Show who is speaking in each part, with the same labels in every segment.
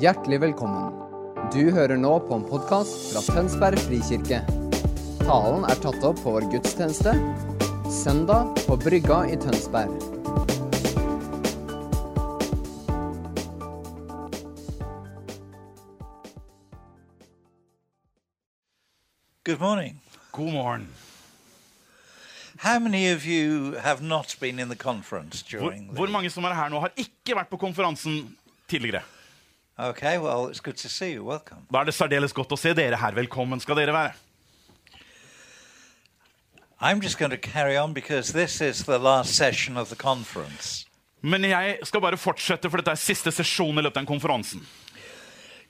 Speaker 1: Hjertelig velkommen. Du hører nå på en podkast fra Tønsberg frikirke. Talen er tatt opp på vår gudstjeneste søndag på Brygga i Tønsberg.
Speaker 2: Good morning.
Speaker 3: God morgen.
Speaker 2: How many of you have not been in the conference
Speaker 3: Hvor,
Speaker 2: during
Speaker 3: hvor
Speaker 2: the...
Speaker 3: mange som er her nå, har ikke vært på konferansen tidligere?
Speaker 2: Okay, well, it's good to see you. Welcome.
Speaker 3: Da er det særdeles godt å se dere her. Velkommen skal dere være.
Speaker 2: I'm just going to carry on because this is the last session of the conference.
Speaker 3: Men jeg skal bare fortsette, for dette er siste sesjon i løpet av den konferansen.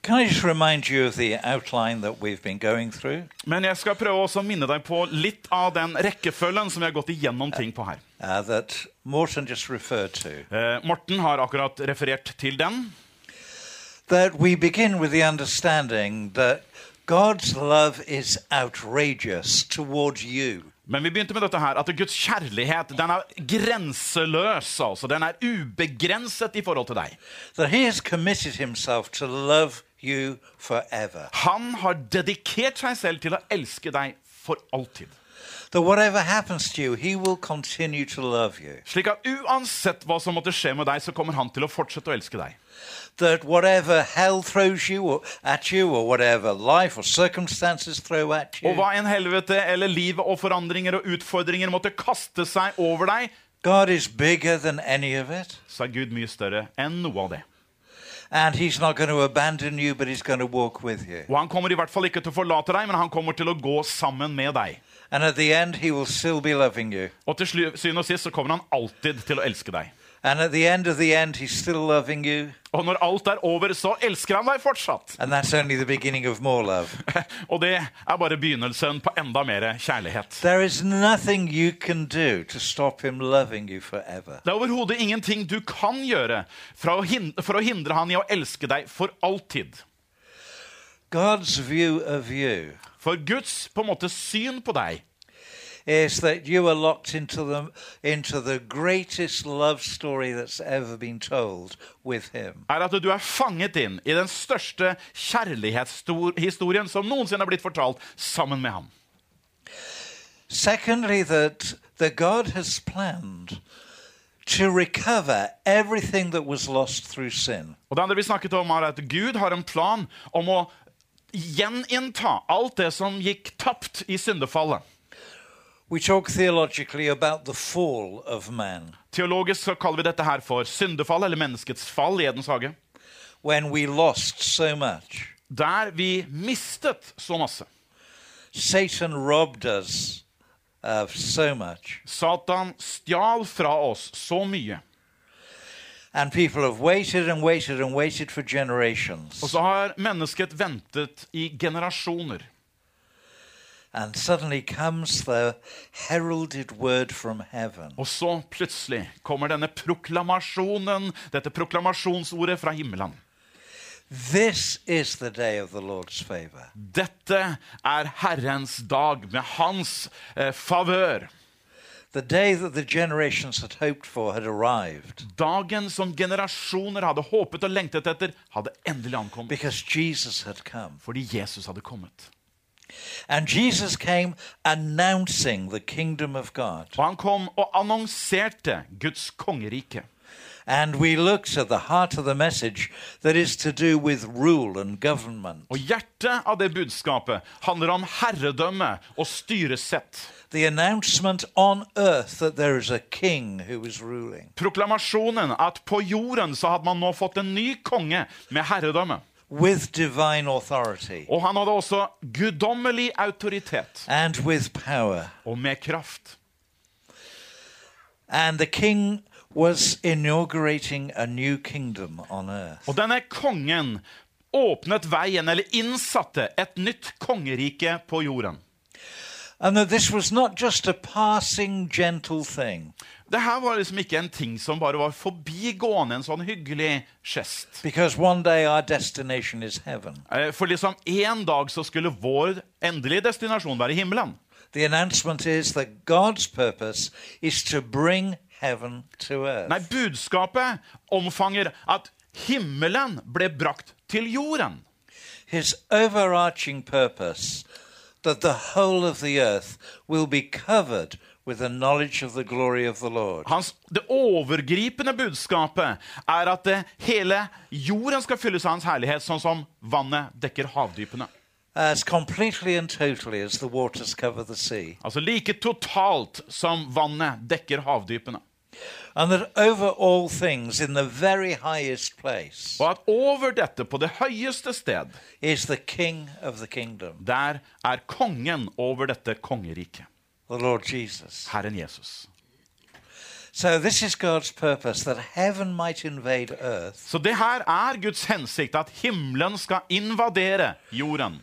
Speaker 2: Can I just remind you of the outline that we've been going through?
Speaker 3: Men jeg skal prøve også å minne deg på litt av den rekkefølgen som vi har gått igjennom ting på her.
Speaker 2: Uh, that Morton just referred to.
Speaker 3: Eh, Morten har akkurat referert til den.
Speaker 2: That we begin with the understanding that God's love is outrageous towards you.
Speaker 3: Men vi begynte med dette her, at Guds kjærlighet den er grenseløs. altså. Den er ubegrenset i forhold til deg.
Speaker 2: That He has committed Himself to love you forever.
Speaker 3: Han har dedikert seg selv til å elske deg for alltid.
Speaker 2: that whatever happens to you, he will continue to love you.
Speaker 3: Slik at uansett hva som måtte skje med deg, så kommer han til å fortsette å elske deg.
Speaker 2: That whatever hell throws you or, at you, or whatever life or circumstances throw at
Speaker 3: Og
Speaker 2: you,
Speaker 3: hva enn helvete eller livet og forandringer og utfordringer måtte kaste seg over deg,
Speaker 2: God is bigger than any of it.
Speaker 3: så er Gud mye større enn noe av det.
Speaker 2: And he's not going to abandon you, but he's going to walk with you.
Speaker 3: Og han kommer i hvert fall ikke til å forlate deg, men han kommer til å gå sammen med deg.
Speaker 2: And at the end, he will still be loving you.
Speaker 3: Og til slu- syvende og sist så kommer han alltid til å elske deg.
Speaker 2: And at the end of the end, he's still loving you.
Speaker 3: Og når alt er over, så elsker han deg fortsatt.
Speaker 2: And that's only the beginning of more love.
Speaker 3: Og det er bare begynnelsen på enda mer kjærlighet.
Speaker 2: There is nothing you can do to stop him loving you forever.
Speaker 3: Det er overhodet ingenting du kan gjøre fra å hin- for å hindre han i å elske deg for alltid.
Speaker 2: God's view of you
Speaker 3: For Guds på en måte syn på deg
Speaker 2: is that you are locked into the, into the greatest love story that's ever been told with him.
Speaker 3: er at du er fanget inn i den største kjærlighetshistorien som noensinne er blitt fortalt, sammen med ham.
Speaker 2: Secondly, that the God has planned to recover everything that was lost through sin.
Speaker 3: Og det andre vi snakket om er at Gud har en plan om å gjeninnta alt det som gikk tapt i syndefallet.
Speaker 2: We talk theologically about the fall of man,
Speaker 3: Teologisk så kaller vi dette her for syndefallet, eller menneskets fall i Edens hage.
Speaker 2: when we lost so much.
Speaker 3: Der vi mistet så masse.
Speaker 2: Satan robbed us of so much.
Speaker 3: Satan stjal fra oss så mye.
Speaker 2: And people have waited and waited and waited for
Speaker 3: Og
Speaker 2: generations.
Speaker 3: så har mennesket ventet i generasjoner.
Speaker 2: And suddenly comes the heralded word from heaven
Speaker 3: Og så plutselig kommer denne proklamasjonen, dette proklamasjonsordet fra himmelen.
Speaker 2: This is the day of the Lord's favor.
Speaker 3: Dette er Herrens dag med hans eh, favør.
Speaker 2: The day that the generations had hoped for had arrived
Speaker 3: Dagen som generasjoner hadde håpet og lengtet etter, hadde endelig ankommet.
Speaker 2: because Jesus had come.
Speaker 3: Fordi Jesus hadde kommet.
Speaker 2: And Jesus came announcing the kingdom of God.
Speaker 3: Og han kom og annonserte Guds kongerike.
Speaker 2: And we looked at the heart of the message that is to do with rule and government,
Speaker 3: Og hjertet av det budskapet handler om herredømme og styresett.
Speaker 2: the announcement on earth that there is a king who is ruling.
Speaker 3: Proklamasjonen at på jorden så hadde man nå fått en ny konge med herredømme.
Speaker 2: with divine authority
Speaker 3: Og han hadde også guddommelig autoritet
Speaker 2: and with power.
Speaker 3: og med kraft.
Speaker 2: And the king was inaugurating a new kingdom on earth.
Speaker 3: Og denne kongen åpnet veien, eller innsatte, et nytt kongerike på jorden.
Speaker 2: And that this was not just a passing, gentle thing,
Speaker 3: Det her var liksom ikke en ting som bare var forbigående, en sånn hyggelig gest.
Speaker 2: because one day our destination is heaven.
Speaker 3: Eh, For liksom en dag så skulle vår endelige destinasjon være himmelen.
Speaker 2: The announcement is that God's purpose is to bring heaven to earth.
Speaker 3: Nei, budskapet omfanger at Himmelen ble brakt til jorden.
Speaker 2: His overarching purpose that the whole of the earth will be covered with the knowledge of the glory of the Lord.
Speaker 3: Hans, det overgripende budskapet er at det, hele jorden skal fylles av hans herlighet, sånn som vannet dekker havdypene.
Speaker 2: As completely and totally as the waters cover the sea.
Speaker 3: Altså like totalt som vannet dekker havdypene.
Speaker 2: And that over all things, in the very highest place,
Speaker 3: Og at over dette, på det høyeste sted,
Speaker 2: is the King of the kingdom,
Speaker 3: der er kongen over dette kongeriket.
Speaker 2: the Lord Jesus.
Speaker 3: Herren Jesus.
Speaker 2: So, this is God's purpose that heaven might invade earth
Speaker 3: Så det her er Guds hensikt, at himmelen skal invadere jorden.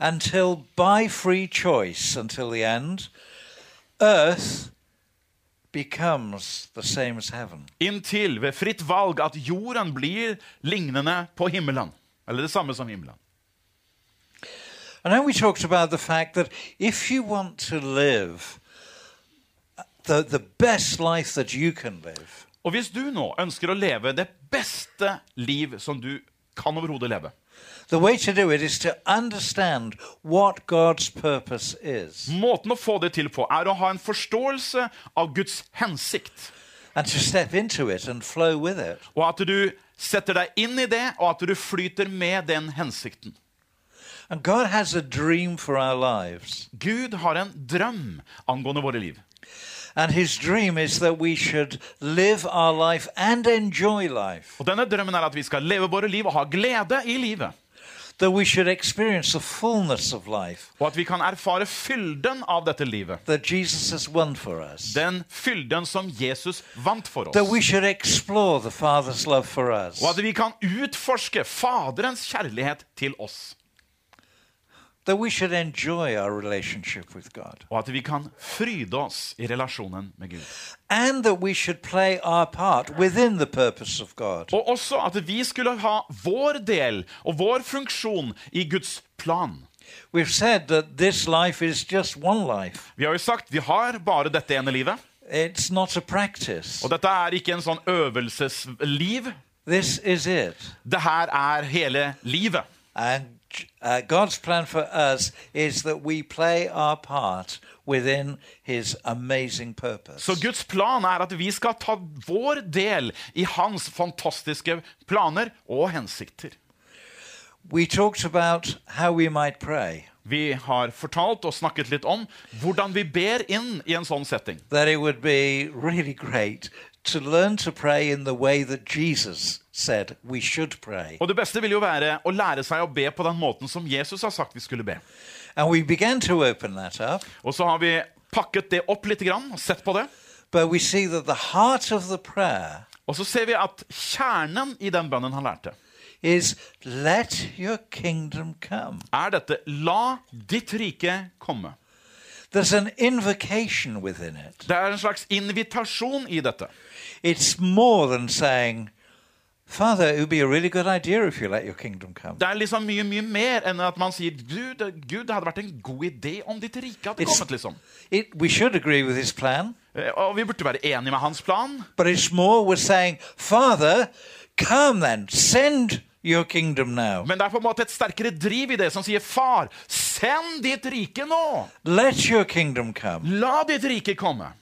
Speaker 2: until by free choice, until the end, earth becomes the same as heaven.
Speaker 3: Inntil ved fritt valg at jorden blir lignende på himmelen. Eller det samme som himmelen.
Speaker 2: And then we talked about the fact that if you want to live uh, the, the best life that you can live,
Speaker 3: Og hvis du nå ønsker å leve det beste liv som du kan overhodet leve,
Speaker 2: the way to do it is to understand what God's purpose is
Speaker 3: måten å få det til på er å ha en forståelse av Guds hensikt.
Speaker 2: and to step into it and flow with it.
Speaker 3: Og at du setter deg inn i det, og at du flyter med den hensikten.
Speaker 2: And God has a dream for our lives.
Speaker 3: Gud har en drøm angående våre liv.
Speaker 2: And his dream is that we should live our life and enjoy life,
Speaker 3: Og denne drømmen er at vi skal leve våre liv og ha glede i livet.
Speaker 2: that we should experience the fullness of life
Speaker 3: Og at vi kan erfare fylden av dette livet.
Speaker 2: that Jesus has won for us,
Speaker 3: Den fylden som Jesus vant for
Speaker 2: that we
Speaker 3: oss.
Speaker 2: should explore the Father's love for us,
Speaker 3: Og at vi kan utforske Faderens kjærlighet til oss.
Speaker 2: that we should enjoy our relationship with God,
Speaker 3: Og at vi kan fryde oss i relasjonen med Gud.
Speaker 2: and that we should play our part within the purpose of God.
Speaker 3: Og også at vi skulle ha vår del og vår funksjon i Guds plan.
Speaker 2: We've said that this life is just one life,
Speaker 3: Vi har jo sagt vi har bare dette ene livet.
Speaker 2: it's not a practice.
Speaker 3: Og dette er ikke en sånn øvelsesliv.
Speaker 2: This is it.
Speaker 3: Det her er hele livet.
Speaker 2: And uh, God's plan for us is that we play our part within His amazing purpose.
Speaker 3: Så Guds plan er at vi skal ta vår del i hans fantastiske planer og hensikter.
Speaker 2: we talked about how we might pray,
Speaker 3: Vi har fortalt og snakket litt om hvordan vi ber inn i en sånn setting.
Speaker 2: that it would be really great to learn to pray in the way that Jesus said we should pray.
Speaker 3: Og det beste vil jo være å lære seg å be på den måten som Jesus har sagt vi skulle be.
Speaker 2: And we began to open that up,
Speaker 3: Og så har vi pakket det opp litt grann, og sett på det.
Speaker 2: but we see that the heart of the prayer
Speaker 3: Og så ser vi at kjernen i den bønnen han lærte,
Speaker 2: is let your kingdom come.
Speaker 3: er dette La ditt rike komme.
Speaker 2: There's an invocation within it.
Speaker 3: Det er en slags invitasjon i dette.
Speaker 2: It's more than saying, Father, it would be a really good idea if you let your kingdom come.
Speaker 3: Det er liksom mye mye mer enn at man sier Gud, Gud det hadde vært en god idé om ditt rike hadde
Speaker 2: It's-
Speaker 3: kommet. liksom.
Speaker 2: It, we should agree with his plan,
Speaker 3: Eh, Og vi burde være enige med hans plan.
Speaker 2: but it's more we're saying, Father, come then, send your kingdom now.
Speaker 3: Men det er på en måte et sterkere driv i det som sier Far, send ditt rike nå!
Speaker 2: Let your kingdom come,
Speaker 3: La ditt rike komme.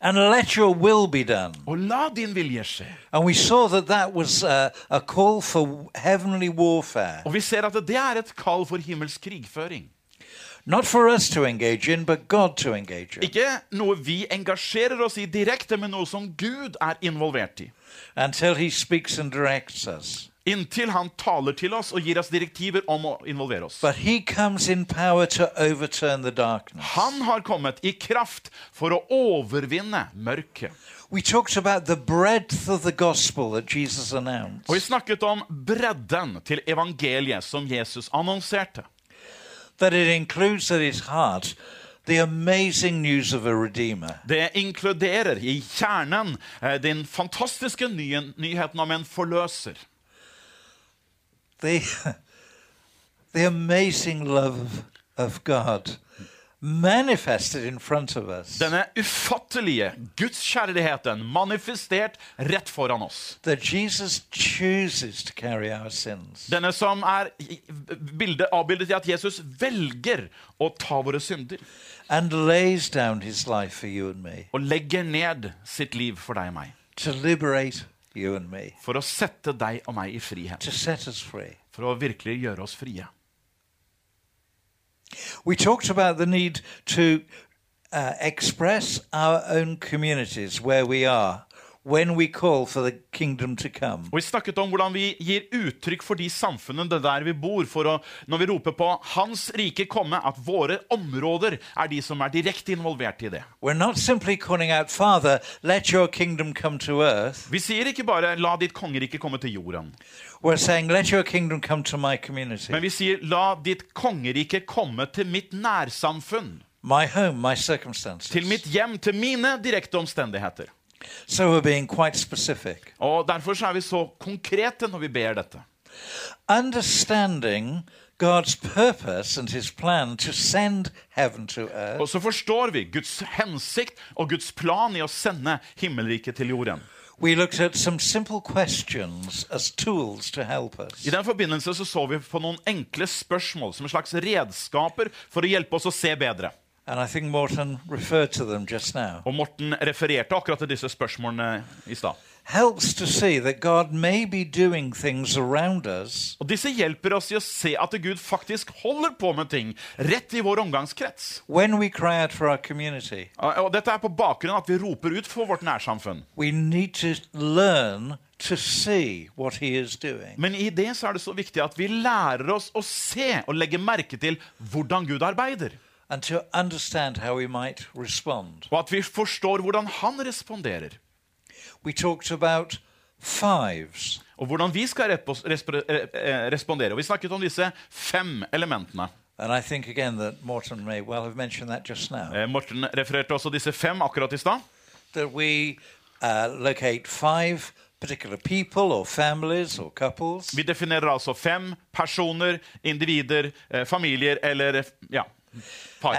Speaker 2: and let your will be done.
Speaker 3: Og la din vilje skje.
Speaker 2: And we saw that that was uh, a call for heavenly warfare,
Speaker 3: Og vi ser at det er et kall for himmelsk krigføring.
Speaker 2: not for us to engage in, but God to engage in.
Speaker 3: Ikke noe vi engasjerer oss i direkte, men noe som Gud er involvert i.
Speaker 2: Until he speaks and directs us.
Speaker 3: Inntil han taler til oss og gir oss direktiver om å involvere oss.
Speaker 2: But he comes in power to overturn the darkness.
Speaker 3: Han har kommet i kraft for å overvinne mørket.
Speaker 2: We talked about the breadth of the gospel that Jesus announced.
Speaker 3: Og vi snakket om bredden til evangeliet som Jesus annonserte.
Speaker 2: That it includes at its heart the amazing news of a Redeemer.
Speaker 3: Det inkluderer i kjernen eh, den fantastiske nye, nyheten om en forløser.
Speaker 2: The, the amazing love of God manifested in front of us,
Speaker 3: Denne ufattelige gudskjærligheten manifestert rett foran oss.
Speaker 2: that Jesus chooses to carry our sins.
Speaker 3: Denne som er bildet, avbildet i at Jesus velger å ta våre synder
Speaker 2: and lays down his life for you and me,
Speaker 3: og legger ned sitt liv for deg og meg.
Speaker 2: to liberate you and me,
Speaker 3: For å sette deg og meg i frihet.
Speaker 2: to set us free.
Speaker 3: For å virkelig gjøre oss frie.
Speaker 2: We talked about the need to uh, express our own communities where we are when we call for the kingdom to come.
Speaker 3: Og Vi snakket om hvordan vi gir uttrykk for de samfunnene det der vi bor, for å, når vi roper på 'Hans rike komme', at våre områder er de som er direkte involvert i det.
Speaker 2: We're not simply calling out, Father, let your kingdom come to earth.
Speaker 3: Vi sier ikke bare 'La ditt kongerike komme til jorden',
Speaker 2: We're saying, let your kingdom come to my community,
Speaker 3: men vi sier 'La ditt kongerike komme til mitt nærsamfunn'.
Speaker 2: my home, my
Speaker 3: Til
Speaker 2: circumstances.
Speaker 3: mitt hjem, til mine direkte omstendigheter.
Speaker 2: So we're being quite specific.
Speaker 3: Og Derfor så er vi så konkrete når vi ber dette.
Speaker 2: understanding God's purpose and his plan to send heaven to earth,
Speaker 3: Og så forstår vi Guds hensikt og Guds plan i å sende himmelriket til jorden.
Speaker 2: we looked at some simple questions as tools to help us.
Speaker 3: I den forbindelse så, så vi på noen enkle spørsmål som en slags redskaper for å hjelpe oss å se bedre.
Speaker 2: And I think Morton referred to them just now.
Speaker 3: Og Morten refererte akkurat til disse spørsmålene i stad.
Speaker 2: Helps to see that God may be doing things around us
Speaker 3: Og disse hjelper oss i å se at Gud faktisk holder på med ting rett i vår omgangskrets.
Speaker 2: when we cry out for our community.
Speaker 3: Og dette er på bakgrunn av at vi roper ut for vårt nærsamfunn.
Speaker 2: We need to learn to see what he is doing.
Speaker 3: Men i det så er det så viktig at vi lærer oss å se og legge merke til hvordan Gud arbeider.
Speaker 2: And to understand how we might respond.
Speaker 3: Og at vi forstår hvordan han responderer.
Speaker 2: We talked about fives
Speaker 3: Og hvordan vi skal repos- respre- eh, eh, respondere. Og vi snakket om disse fem elementene.
Speaker 2: And I think again that Morton may well have mentioned that just now.
Speaker 3: Eh, Morten refererte også disse fem akkurat i stad.
Speaker 2: That we uh, locate five particular people or families or couples,
Speaker 3: Vi definerer altså fem personer, individer, eh, familier eller eh, ja, par.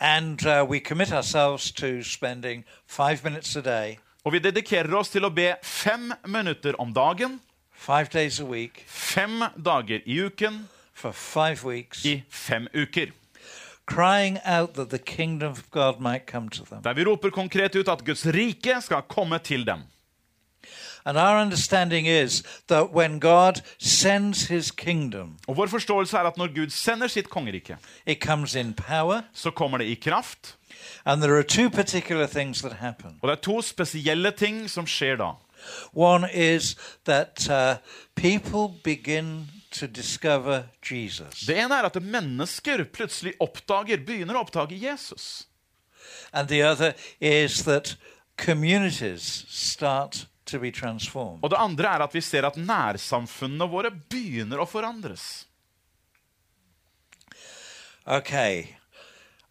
Speaker 2: and uh, we commit ourselves to spending five minutes a day,
Speaker 3: Og vi dedikerer oss til å be fem minutter om dagen,
Speaker 2: five days a week,
Speaker 3: fem dager i uken,
Speaker 2: for five weeks,
Speaker 3: i fem uker.
Speaker 2: crying out that the kingdom of God might come to them.
Speaker 3: Der vi roper konkret ut at Guds rike skal komme til dem.
Speaker 2: And our understanding is that when God sends his kingdom,
Speaker 3: Og vår forståelse er at når Gud sender sitt kongerike,
Speaker 2: it comes in power,
Speaker 3: så kommer det i kraft.
Speaker 2: and there are two particular things that happen.
Speaker 3: Og det er to spesielle ting som skjer da.
Speaker 2: One is that uh, people begin to discover Jesus.
Speaker 3: Det ene er at mennesker plutselig oppdager, begynner å oppdage Jesus.
Speaker 2: And the other is that communities start to be transformed.
Speaker 3: Og det andre er at vi ser at nærsamfunnene våre begynner å forandres.
Speaker 2: Okay.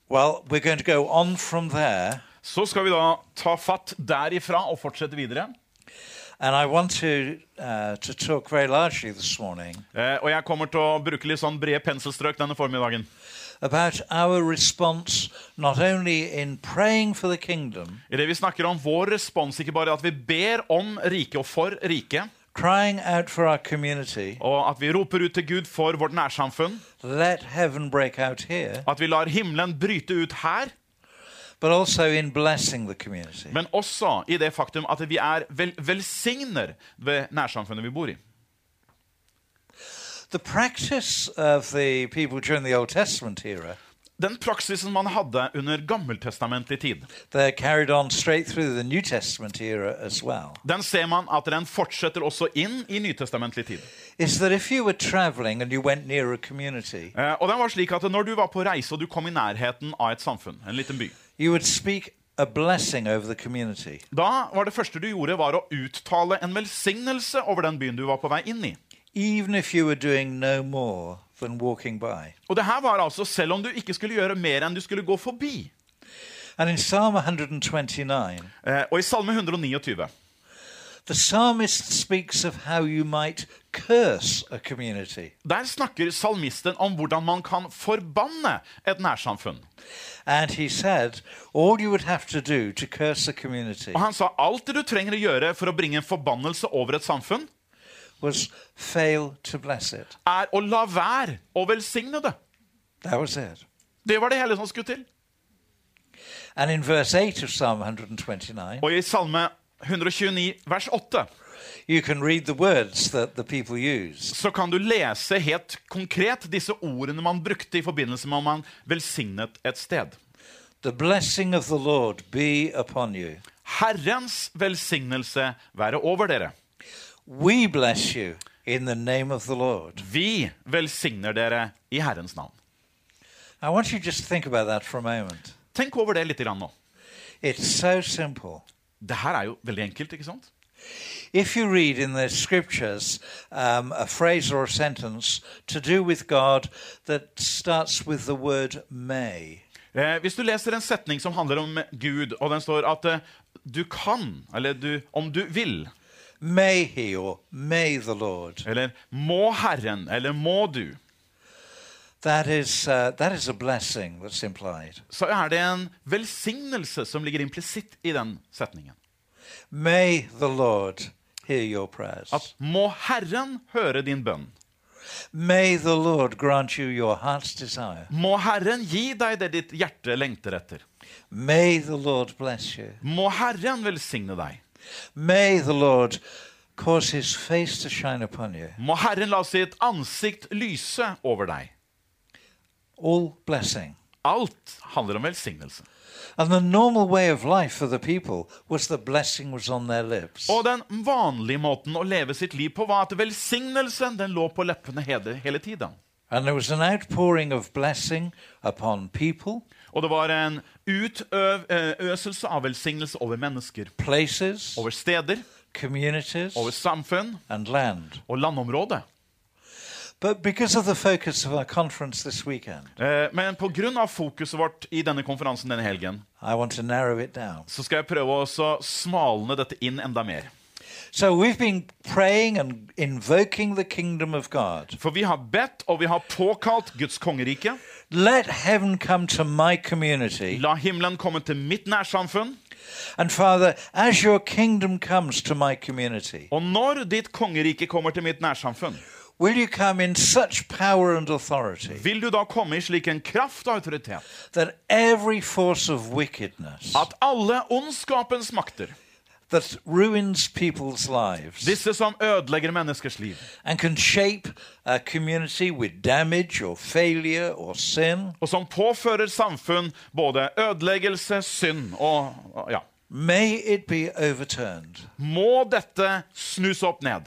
Speaker 2: Well, we're going to go on from there.
Speaker 3: Så skal vi da ta fatt derifra og fortsette videre.
Speaker 2: And I want to, uh, to talk very largely this morning
Speaker 3: Eh, og jeg kommer til å bruke litt sånn brede penselstrøk denne formiddagen.
Speaker 2: about our response not only in praying for the kingdom,
Speaker 3: I det vi snakker om vår respons, ikke bare at vi ber om rike og for rike,
Speaker 2: crying out for our community,
Speaker 3: og at vi roper ut til Gud for vårt nærsamfunn,
Speaker 2: let heaven break out here,
Speaker 3: at vi lar himmelen bryte ut her,
Speaker 2: but also in blessing the community.
Speaker 3: men også i det faktum at vi er vel velsigner ved nærsamfunnet vi bor i.
Speaker 2: The practice of the people during the Old Testament era,
Speaker 3: Den praksisen man hadde under gammeltestamentlig tid,
Speaker 2: they're carried on straight through the New Testament era as well,
Speaker 3: den ser man at den fortsetter også inn i nytestamentlig tid.
Speaker 2: is that if you were traveling and you went near a community,
Speaker 3: Eh, og den var slik at Når du var på reise og du kom i nærheten av et samfunn, en liten by,
Speaker 2: you would speak a blessing over the community.
Speaker 3: da var det første du gjorde, var å uttale en velsignelse over den byen du var på vei inn i.
Speaker 2: Even if you were doing no more than walking by.
Speaker 3: Og det her var altså selv om du ikke skulle gjøre mer enn du skulle gå forbi.
Speaker 2: And in Psalm 129,
Speaker 3: Eh, og i Salme 129
Speaker 2: the psalmist speaks of how you might curse a community.
Speaker 3: Der snakker salmisten om hvordan man kan forbanne et nærsamfunn.
Speaker 2: And he said, all you would have to do to curse a community
Speaker 3: Og han sa alt det du trenger å gjøre for å bringe en forbannelse over et samfunn,
Speaker 2: was fail to bless it.
Speaker 3: er å la være å velsigne det.
Speaker 2: That was it.
Speaker 3: Det var det hele som skulle til.
Speaker 2: And in verse 8 of Psalm 129,
Speaker 3: Og i Salme 129 vers 8
Speaker 2: you can read the words that the people used.
Speaker 3: så kan du lese helt konkret disse ordene man brukte i forbindelse med om man velsignet et sted.
Speaker 2: The blessing of the Lord be upon you.
Speaker 3: Herrens velsignelse være over dere.
Speaker 2: We bless you in the name of the Lord.
Speaker 3: Vi velsigner dere i Herrens navn.
Speaker 2: I want you just to think about that for a moment.
Speaker 3: Tenk over det litt grann nå.
Speaker 2: It's so simple.
Speaker 3: Det her er jo veldig enkelt, ikke sant?
Speaker 2: If you read in the scriptures um, a phrase or a sentence to do with God that starts with the word may,
Speaker 3: Eh, hvis du leser en setning som handler om Gud, og den står at eh, du kan, eller du, om du vil,
Speaker 2: may he or may the Lord,
Speaker 3: eller må Herren, eller må du,
Speaker 2: that is, uh, that is a blessing that's implied.
Speaker 3: så er det en velsignelse som ligger implisitt i den setningen.
Speaker 2: May the Lord hear your prayers.
Speaker 3: At må Herren høre din bønn.
Speaker 2: May the Lord grant you your heart's desire.
Speaker 3: Må Herren gi deg det ditt hjerte lengter etter.
Speaker 2: May the Lord bless you.
Speaker 3: Må Herren velsigne deg.
Speaker 2: May the Lord cause his face to shine upon you.
Speaker 3: Må Herren la sitt ansikt lyse over deg.
Speaker 2: All blessing.
Speaker 3: Alt handler om velsignelse.
Speaker 2: And the normal way of life for the people was the blessing was on their lips.
Speaker 3: Og den vanlige måten å leve sitt liv på var at velsignelsen den lå på leppene hele, hele tiden.
Speaker 2: And there was an outpouring of blessing upon people,
Speaker 3: Og det var en utøvelse av velsignelse over mennesker.
Speaker 2: places,
Speaker 3: Over steder,
Speaker 2: communities,
Speaker 3: over samfunn
Speaker 2: and land.
Speaker 3: og landområde.
Speaker 2: But because of the focus of our conference this weekend,
Speaker 3: Eh, Men pga. fokuset vårt i denne konferansen denne helgen,
Speaker 2: I want to narrow it down.
Speaker 3: så skal jeg prøve å så smalne dette inn enda mer.
Speaker 2: So we've been praying and invoking the kingdom of God.
Speaker 3: For vi har bedt og vi har påkalt Guds kongerike.
Speaker 2: Let heaven come to my community.
Speaker 3: La himmelen komme til mitt nærsamfunn.
Speaker 2: And Father, as your kingdom comes to my community,
Speaker 3: Og når ditt kongerike kommer til mitt nærsamfunn,
Speaker 2: will you come in such power and authority
Speaker 3: vil du da komme i slik en kraft og autoritet
Speaker 2: that every force of wickedness
Speaker 3: at alle ondskapens makter,
Speaker 2: that ruins people's lives
Speaker 3: disse som ødelegger menneskers liv,
Speaker 2: and can shape a community with damage or failure or sin,
Speaker 3: og som påfører samfunn både ødeleggelse, synd og og- ja,
Speaker 2: may it be overturned.
Speaker 3: må dette snus opp ned.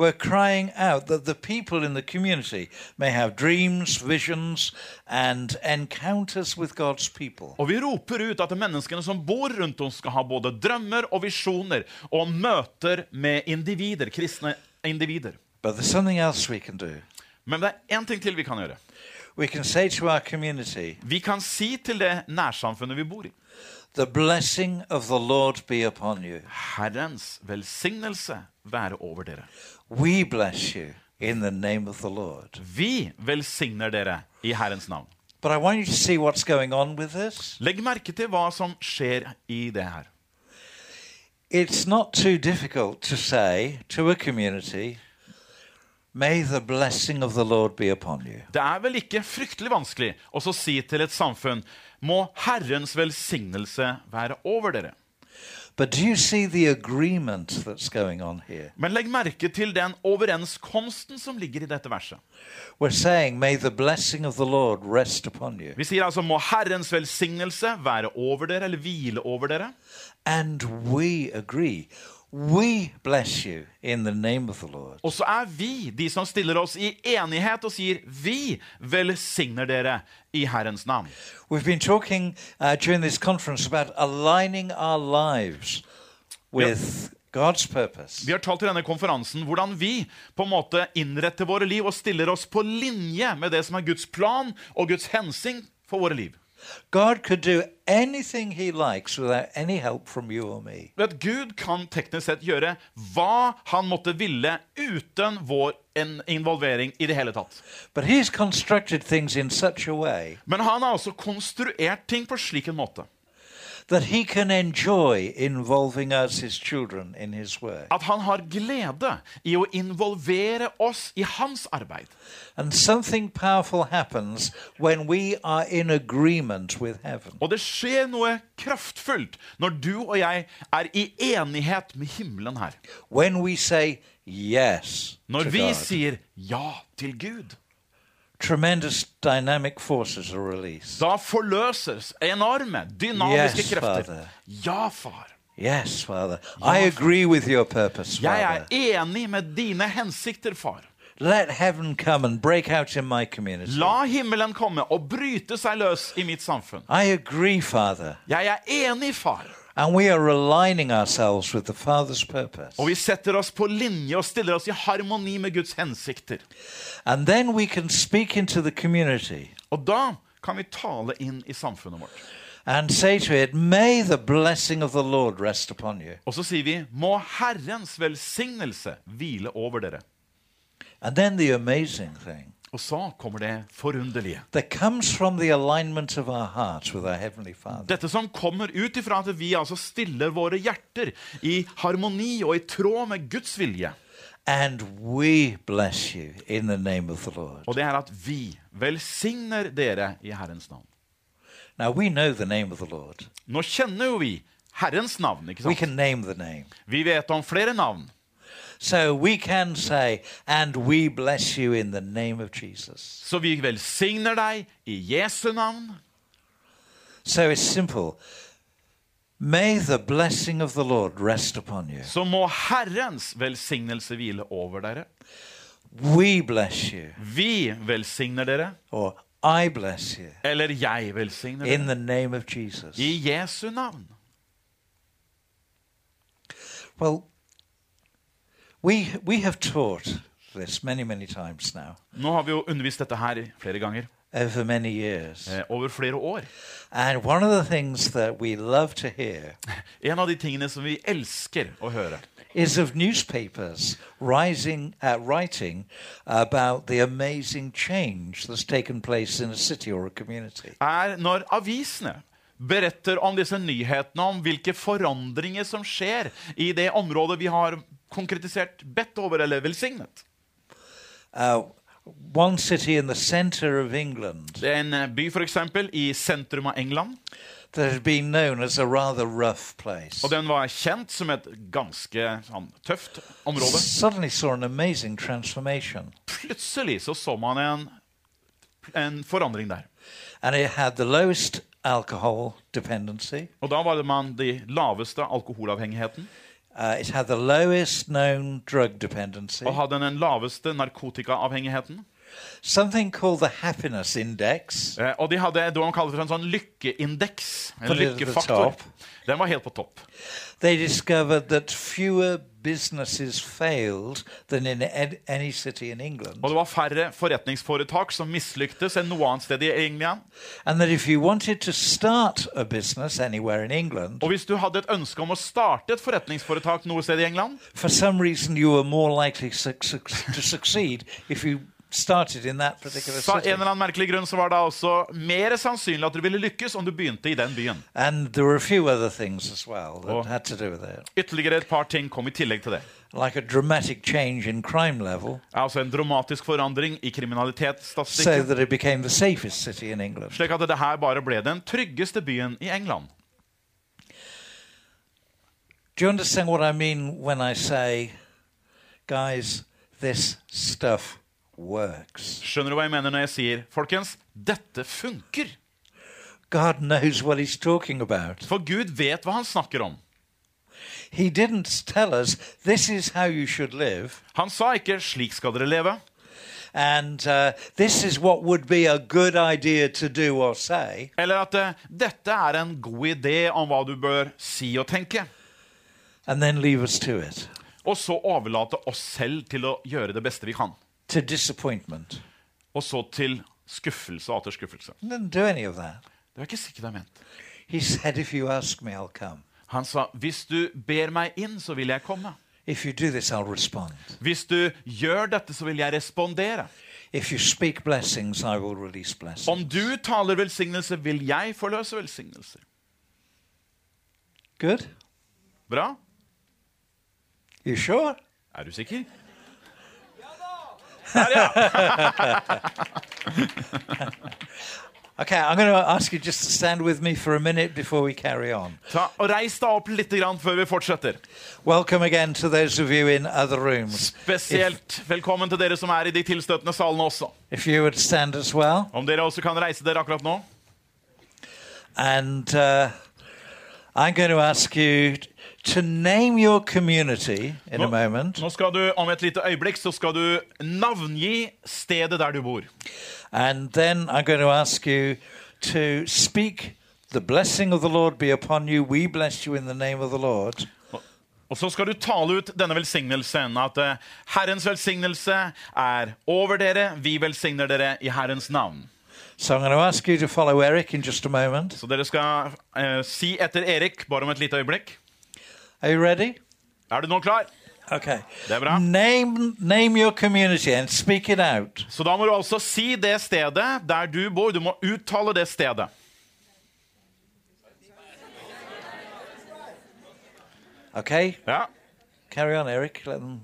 Speaker 2: We're crying out that the people in the community may have dreams, visions, and encounters with God's people.
Speaker 3: Og vi roper ut at menneskene som bor rundt oss, skal ha både drømmer og visjoner og møter med individer, kristne individer.
Speaker 2: But there's something else we can do.
Speaker 3: Men det er én ting til vi kan gjøre.
Speaker 2: We can say to our community,
Speaker 3: Vi kan si til det nærsamfunnet vi bor i
Speaker 2: The blessing of the Lord be upon you.
Speaker 3: Herrens velsignelse være over dere.
Speaker 2: We bless you in the name of the Lord.
Speaker 3: Vi velsigner dere i Herrens navn.
Speaker 2: But I want you to see what's going on with this.
Speaker 3: Legg merke til hva som skjer i det her.
Speaker 2: It's not too difficult to say to a community, May the blessing of the Lord be upon you.
Speaker 3: Det er vel ikke fryktelig vanskelig å så si til et samfunn må Herrens velsignelse være over dere.
Speaker 2: But do you see the agreement that's going on here?
Speaker 3: Men legg merke til den overenskomsten som ligger i dette verset.
Speaker 2: We're saying, May the blessing of the Lord rest upon you.
Speaker 3: Vi sier altså 'må Herrens velsignelse være over dere', eller 'hvile over dere'.
Speaker 2: And we agree. We bless you in the name of the Lord.
Speaker 3: Og så er vi de som stiller oss i enighet og sier 'vi velsigner dere' i Herrens navn.
Speaker 2: We've been talking uh, during this conference about aligning our lives with God's purpose.
Speaker 3: Vi har talt i denne konferansen hvordan vi på en måte innretter våre liv og stiller oss på linje med det som er Guds plan og Guds hensikt for våre liv.
Speaker 2: God could do anything he likes without any help from you or me.
Speaker 3: Du vet, Gud kan teknisk sett gjøre hva han måtte ville uten vår en- involvering i det hele tatt.
Speaker 2: But he's constructed things in such a way
Speaker 3: Men han har altså konstruert ting på slik en måte
Speaker 2: that he can enjoy involving us, his children, in his work.
Speaker 3: at han har glede i å involvere oss i hans arbeid.
Speaker 2: And something powerful happens when we are in agreement with heaven.
Speaker 3: Og det skjer noe kraftfullt når du og jeg er i enighet med himmelen her.
Speaker 2: When we say yes
Speaker 3: Når
Speaker 2: to
Speaker 3: vi
Speaker 2: God,
Speaker 3: sier ja til Gud,
Speaker 2: tremendous dynamic forces are released.
Speaker 3: da forløses enorme, dynamiske
Speaker 2: Yes,
Speaker 3: krefter.
Speaker 2: Father.
Speaker 3: Ja, far.
Speaker 2: Yes, Father, I agree with your purpose,
Speaker 3: Jeg
Speaker 2: Father.
Speaker 3: er enig med dine hensikter, far.
Speaker 2: Let heaven come and break out in my community.
Speaker 3: La himmelen komme og bryte seg løs i mitt samfunn.
Speaker 2: I agree, Father.
Speaker 3: Jeg er enig, far.
Speaker 2: And we are aligning ourselves with the Father's purpose.
Speaker 3: Og vi setter oss på linje og stiller oss i harmoni med Guds hensikter.
Speaker 2: And then we can speak into the community
Speaker 3: Og da kan vi tale inn i samfunnet vårt.
Speaker 2: and say to it, May the blessing of the Lord rest upon you.
Speaker 3: Og så sier vi 'Må Herrens velsignelse hvile over dere'.
Speaker 2: And then the amazing thing
Speaker 3: Og så kommer det forunderlige.
Speaker 2: that comes from the alignment of our hearts with our Heavenly Father
Speaker 3: Dette som kommer ut ifra at vi altså stiller våre hjerter i harmoni og i tråd med Guds vilje.
Speaker 2: and we bless you in the name of the Lord.
Speaker 3: Og det er at vi velsigner dere i Herrens navn.
Speaker 2: Now we know the name of the Lord,
Speaker 3: Nå kjenner jo vi Herrens navn, ikke
Speaker 2: we
Speaker 3: sant?
Speaker 2: can name the name.
Speaker 3: Vi vet om flere navn.
Speaker 2: So we can say, and we bless you in the name of Jesus.
Speaker 3: Så vi velsigner deg i Jesu navn.
Speaker 2: So it's simple. May the blessing of the Lord rest upon you.
Speaker 3: Så må Herrens velsignelse hvile over dere.
Speaker 2: We bless you,
Speaker 3: Vi velsigner dere,
Speaker 2: or I bless you,
Speaker 3: eller jeg velsigner
Speaker 2: in
Speaker 3: dere.
Speaker 2: the name of Jesus.
Speaker 3: I Jesu navn.
Speaker 2: Well, we, we have taught this many, many times now,
Speaker 3: Nå har vi jo undervist dette her flere ganger.
Speaker 2: over many years.
Speaker 3: eh, Over flere år.
Speaker 2: And one of the things that we love to hear
Speaker 3: En av de tingene som vi elsker å høre,
Speaker 2: is of newspapers rising, uh, writing about the amazing change that's taken place in a city or a community.
Speaker 3: er når avisene beretter om disse nyhetene om hvilke forandringer som skjer i det området vi har konkretisert bedt over eller velsignet.
Speaker 2: Uh, one city in the center of England
Speaker 3: Det er en eh, by for eksempel, i sentrum av England,
Speaker 2: that had been known as a rather rough place
Speaker 3: og den var kjent som et ganske sånn, tøft område.
Speaker 2: suddenly saw an amazing transformation.
Speaker 3: Plutselig så, så man en, en forandring der.
Speaker 2: And it had the lowest alcohol dependency,
Speaker 3: Og da var det man de laveste alkoholavhengigheten,
Speaker 2: uh, it had the lowest known drug dependency,
Speaker 3: og hadde den laveste narkotikaavhengigheten.
Speaker 2: something called the happiness index.
Speaker 3: Eh, Og de hadde det man kaller for en sånn lykkeindeks. En
Speaker 2: På det- det
Speaker 3: lykkefaktor.
Speaker 2: topp.
Speaker 3: Den var helt på topp.
Speaker 2: They discovered that fewer businesses failed than in ed- any city in England.
Speaker 3: Og det var færre forretningsforetak som mislyktes enn noe annet sted i England.
Speaker 2: And that if you wanted to start a business anywhere in England,
Speaker 3: Og hvis du hadde et ønske om å starte et forretningsforetak noe sted i England,
Speaker 2: for some reason you were more likely suc suc to succeed if you started in that particular
Speaker 3: så av en
Speaker 2: city.
Speaker 3: eller annen merkelig grunn så var det altså mer sannsynlig at du ville lykkes om du begynte i den byen.
Speaker 2: And there were a few other things as well that
Speaker 3: Oh.
Speaker 2: had to do with it,
Speaker 3: Ytterligere et par ting kom i tillegg til det.
Speaker 2: like a dramatic change in crime level,
Speaker 3: Altså en dramatisk forandring i
Speaker 2: so
Speaker 3: kriminalitetsstatistikken.
Speaker 2: that it became the safest city in England.
Speaker 3: Slik at det her bare ble den tryggeste byen i England.
Speaker 2: Do you understand what I mean when I say, guys, this stuff works?
Speaker 3: Skjønner du hva jeg mener når jeg sier, folkens, dette funker?
Speaker 2: God knows what he's talking about.
Speaker 3: For Gud vet hva han snakker om.
Speaker 2: He didn't tell us this is how you should live
Speaker 3: Han sa ikke 'slik skal dere leve',
Speaker 2: and uh, this is what would be a good idea to do or say.
Speaker 3: eller at eh, 'dette er en god idé om hva du bør si og tenke',
Speaker 2: And then leave us to it,
Speaker 3: og så overlate oss selv til å gjøre det beste vi kan.
Speaker 2: to disappointment.
Speaker 3: Og så til skuffelse og atter skuffelse.
Speaker 2: He didn't do any of that.
Speaker 3: Det er ikke sikkert det er ment.
Speaker 2: He said, If you ask me, I'll come.
Speaker 3: Han sa, 'Hvis du ber meg inn, så vil jeg komme'.
Speaker 2: If you do this, I'll respond.
Speaker 3: Hvis du gjør dette, så vil jeg respondere.
Speaker 2: If you speak blessings, I will release blessings.
Speaker 3: Om du taler velsignelse, vil jeg forløse velsignelser.
Speaker 2: Good?
Speaker 3: Bra?
Speaker 2: You sure?
Speaker 3: Er du sikker?
Speaker 2: Okay, I'm going to ask you just to stand with me for a minute before we carry on.
Speaker 3: Ta og Reis deg opp litt grann før vi fortsetter.
Speaker 2: Welcome again to those of you in other rooms. If,
Speaker 3: Spesielt velkommen til dere som er i de tilstøtende salene også.
Speaker 2: if you would stand as well.
Speaker 3: Om dere også kan reise dere akkurat nå.
Speaker 2: And uh, I'm going to ask you t- to name your community in a moment.
Speaker 3: nå skal du, Om et lite øyeblikk så skal du navngi stedet der du bor.
Speaker 2: And then I'm going to ask you to speak the blessing of the Lord be upon you. We bless you in the name of the Lord.
Speaker 3: Og- Og så skal du tale ut denne velsignelsen. At eh, Herrens velsignelse er over dere. Vi velsigner dere i Herrens navn.
Speaker 2: So I'm going to ask you to follow Eric in just a moment.
Speaker 3: Så dere skal eh, si etter Erik, bare om et lite øyeblikk.
Speaker 2: Are you ready?
Speaker 3: Er du nå klar?
Speaker 2: Okay.
Speaker 3: Deborah?
Speaker 2: Name name your community and speak it out.
Speaker 3: Så da må du altså si det stedet der du bor. Du må uttale det stedet.
Speaker 2: Okay.
Speaker 3: Ja.
Speaker 2: Carry on, Eric. Let them.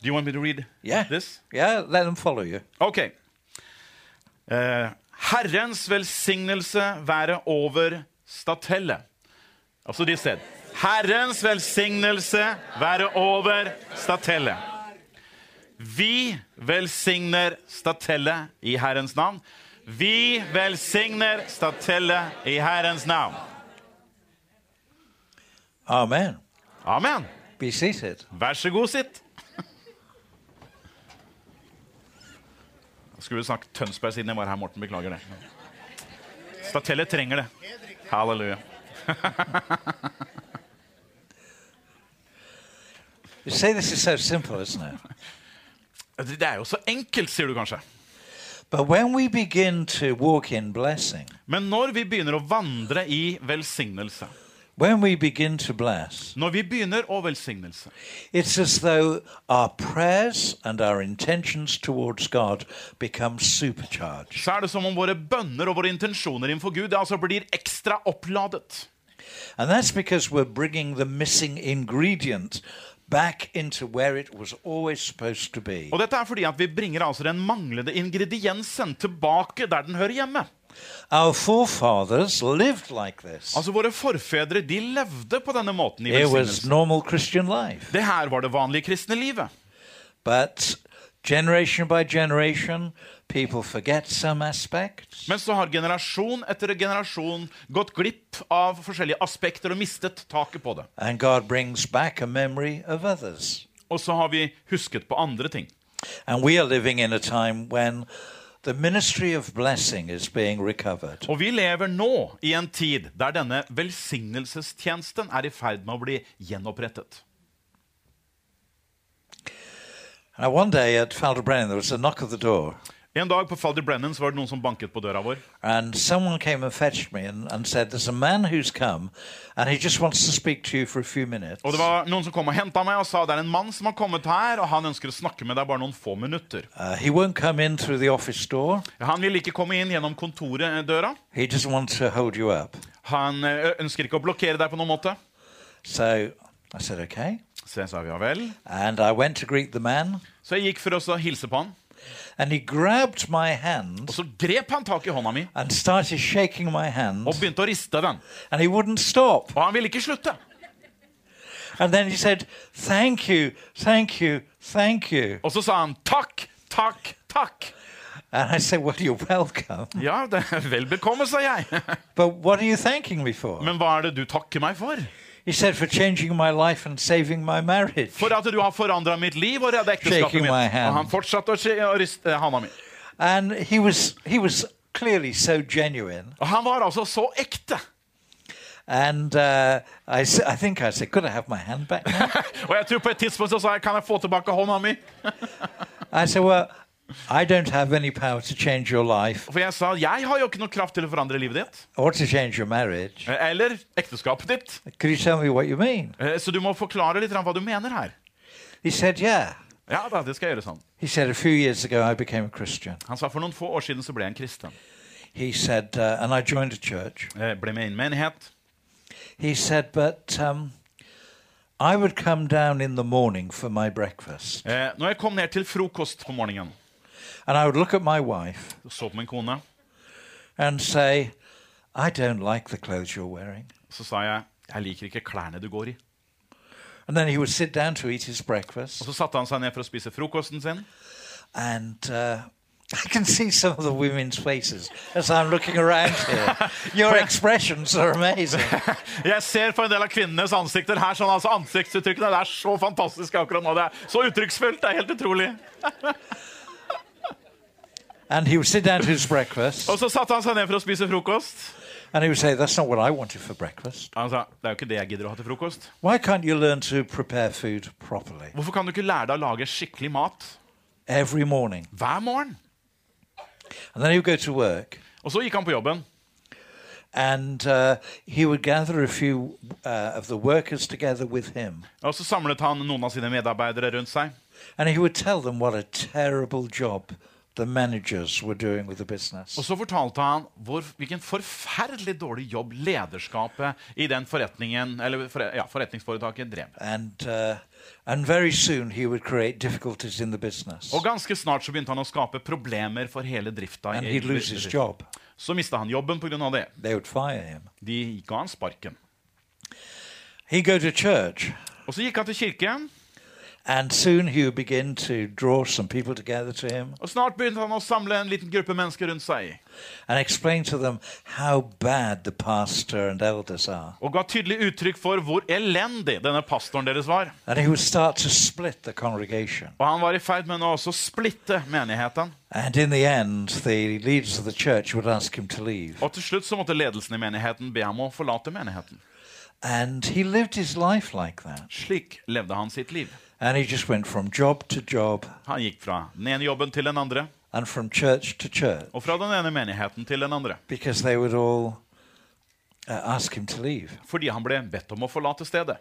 Speaker 3: Do you want me to read
Speaker 2: Yeah.
Speaker 3: this?
Speaker 2: Yeah. Let them follow you.
Speaker 3: Ok. Eh, Herrens velsignelse være over Statelle. Altså de sted. Herrens velsignelse være over Statelle. Vi velsigner Statelle i Herrens navn. Vi velsigner Statelle i Herrens navn.
Speaker 2: Amen.
Speaker 3: Amen.
Speaker 2: Be seated.
Speaker 3: Vær så god, sitt. Jeg skulle snakket Tønsberg siden jeg var her, Morten. Beklager det. Statelle trenger det. Halleluja.
Speaker 2: You say this is so simple, isn't it?
Speaker 3: Det er jo så enkelt, sier du kanskje.
Speaker 2: But when we begin to walk in blessing,
Speaker 3: Men når vi begynner å vandre i velsignelse
Speaker 2: when we begin to bless,
Speaker 3: Når vi begynner å velsignelse,
Speaker 2: It's as though our prayers and our intentions towards God become supercharged.
Speaker 3: så er det som om våre bønner og våre intensjoner innenfor Gud det altså blir ekstra oppladet.
Speaker 2: And that's because we're bringing the missing ingredient back into where it was always supposed to be.
Speaker 3: Og dette er fordi at vi bringer altså den manglende ingrediensen tilbake der den hører hjemme.
Speaker 2: Our forefathers lived like this.
Speaker 3: Altså Våre forfedre de levde på denne måten i
Speaker 2: It was
Speaker 3: velsignelse.
Speaker 2: normal Christian life.
Speaker 3: Det her var det vanlige kristne livet.
Speaker 2: But generation by generation, people forget some aspects.
Speaker 3: Men så har generasjon etter generasjon gått glipp av forskjellige aspekter og mistet taket på det.
Speaker 2: And God brings back a memory of others.
Speaker 3: Og så har vi husket på andre ting.
Speaker 2: And we are living in a time when the ministry of blessing is being recovered.
Speaker 3: Og vi lever nå i en tid der denne velsignelsestjenesten er i ferd med å bli gjenopprettet.
Speaker 2: Now, one day at Falderbrennan, there was a knock at the door,
Speaker 3: En dag på Father Brennan så var det noen som banket på døra vår.
Speaker 2: and someone came and fetched me and, and said, There's a man who's come, and he just wants to speak to you for a few minutes.
Speaker 3: Og det var noen som kom og henta meg og sa det er en mann som har kommet her, og han ønsker å snakke med deg bare noen få minutter.
Speaker 2: Uh, he won't come in through the office door,
Speaker 3: Han vil ikke komme inn gjennom eh, kontoret-døra.
Speaker 2: he just wants to hold you up.
Speaker 3: Han eh, ø, ønsker ikke å blokkere deg på noen måte.
Speaker 2: So I said, Okay.
Speaker 3: Så jeg sa ja vel.
Speaker 2: And I went to greet the man,
Speaker 3: Så jeg gikk for oss å hilse på han.
Speaker 2: and he grabbed my
Speaker 3: Og
Speaker 2: hand
Speaker 3: så grep han tak i hånda mi
Speaker 2: and started shaking my hand,
Speaker 3: og begynte å riste den.
Speaker 2: and he wouldn't stop.
Speaker 3: Og han ville ikke slutte.
Speaker 2: And then he said, Thank you, thank you, thank you.
Speaker 3: Og så sa han takk, takk, takk.
Speaker 2: And I said, Well, you're welcome.
Speaker 3: Ja, det er vel bekomme, sa jeg.
Speaker 2: But what are you thanking me for?
Speaker 3: Men hva er det du takker meg for?
Speaker 2: He said, For changing my life and saving my marriage.
Speaker 3: For at du har forandra mitt liv og redda ekteskapet
Speaker 2: Shaking
Speaker 3: mitt.
Speaker 2: my hand.
Speaker 3: Og han fortsatte å sk- å riste eh, handa mi.
Speaker 2: And he was, he was clearly so genuine.
Speaker 3: Og han var altså så ekte.
Speaker 2: And uh, I, s- I think I said, Could I have my hand back now?
Speaker 3: Og jeg tror på et tidspunkt så sa jeg kan jeg få tilbake hånda mi?
Speaker 2: I said, Well, I don't have any power to change your life
Speaker 3: For jeg sa jeg har jo ikke noe kraft til å forandre livet ditt.
Speaker 2: or to change your marriage.
Speaker 3: eh, Eller ekteskapet ditt.
Speaker 2: Could you tell me what you mean?
Speaker 3: Eh, Så du må forklare litt grann hva du mener her.
Speaker 2: He said, Yeah.
Speaker 3: Ja da, det skal jeg gjøre sånn.
Speaker 2: He said, A few years ago, I became a Christian.
Speaker 3: Han sa for noen få år siden så ble jeg en kristen.
Speaker 2: He said, uh, And I joined a church.
Speaker 3: Eh, Ble med i en menighet.
Speaker 2: He said, But um, I would come down in the morning for my breakfast
Speaker 3: Eh, Når jeg kom ned til frokost på morgenen,
Speaker 2: and I would look at my wife
Speaker 3: så på min kone,
Speaker 2: and say, I don't like the clothes you're wearing.
Speaker 3: så sa jeg jeg liker ikke klærne du går i.
Speaker 2: And then he would sit down to eat his
Speaker 3: Og
Speaker 2: breakfast.
Speaker 3: så satte han seg ned for å spise frokosten sin.
Speaker 2: And uh, I can see some of the women's faces as I'm looking around here. Your expressions are amazing.
Speaker 3: Jeg ser på en del av kvinnenes ansikter her, sånn altså ansiktsuttrykkene. Det er så fantastisk akkurat nå. Det er så uttrykksfullt. Det er helt utrolig.
Speaker 2: And he would sit down to his breakfast
Speaker 3: Og så satte han seg ned for å spise frokost.
Speaker 2: and he would say, That's not what I wanted for breakfast.
Speaker 3: Han sa det er jo ikke det jeg gidder å ha til frokost.
Speaker 2: Why can't you learn to prepare food properly?
Speaker 3: Hvorfor kan du ikke lære deg å lage skikkelig mat
Speaker 2: Every morning.
Speaker 3: hver morgen?
Speaker 2: And then he would go to work
Speaker 3: Og så gikk han på jobben.
Speaker 2: and uh, he would gather a few uh, of the workers together with him.
Speaker 3: Og så samlet han noen av sine medarbeidere rundt seg.
Speaker 2: And he would tell them what a terrible job the managers were doing with the
Speaker 3: Og
Speaker 2: business.
Speaker 3: så fortalte han hvor, hvilken forferdelig dårlig jobb lederskapet i den forretningen, eller forre- ja, forretningsforetaket drev.
Speaker 2: And, uh, and very soon he would create difficulties in the business.
Speaker 3: Og ganske snart så begynte han å skape problemer for hele drifta. i-
Speaker 2: And he'd lose his job.
Speaker 3: Så mista han jobben pga. det.
Speaker 2: They would fire him.
Speaker 3: De ga han sparken.
Speaker 2: He'd go to church.
Speaker 3: Og så gikk han til kirken,
Speaker 2: And soon he would begin to draw some people together to him
Speaker 3: og snart begynte han å samle en liten gruppe mennesker rundt seg.
Speaker 2: and explain to them how bad the pastor and elders are.
Speaker 3: Og ga tydelig uttrykk for hvor elendig denne pastoren deres var.
Speaker 2: And he would start to split the congregation.
Speaker 3: Og han var i ferd med nå også å splitte menigheten.
Speaker 2: And in the end, the leaders of the church would ask him to leave.
Speaker 3: Og til slutt så måtte ledelsen i menigheten be ham å forlate menigheten.
Speaker 2: And he lived his life like that.
Speaker 3: Slik levde han sitt liv.
Speaker 2: And he just went from job to job
Speaker 3: Han gikk fra den ene jobben til den andre,
Speaker 2: and from church to church
Speaker 3: og fra den ene menigheten til den andre.
Speaker 2: because they would all uh, ask him to leave.
Speaker 3: Fordi han ble bedt om å forlate stedet.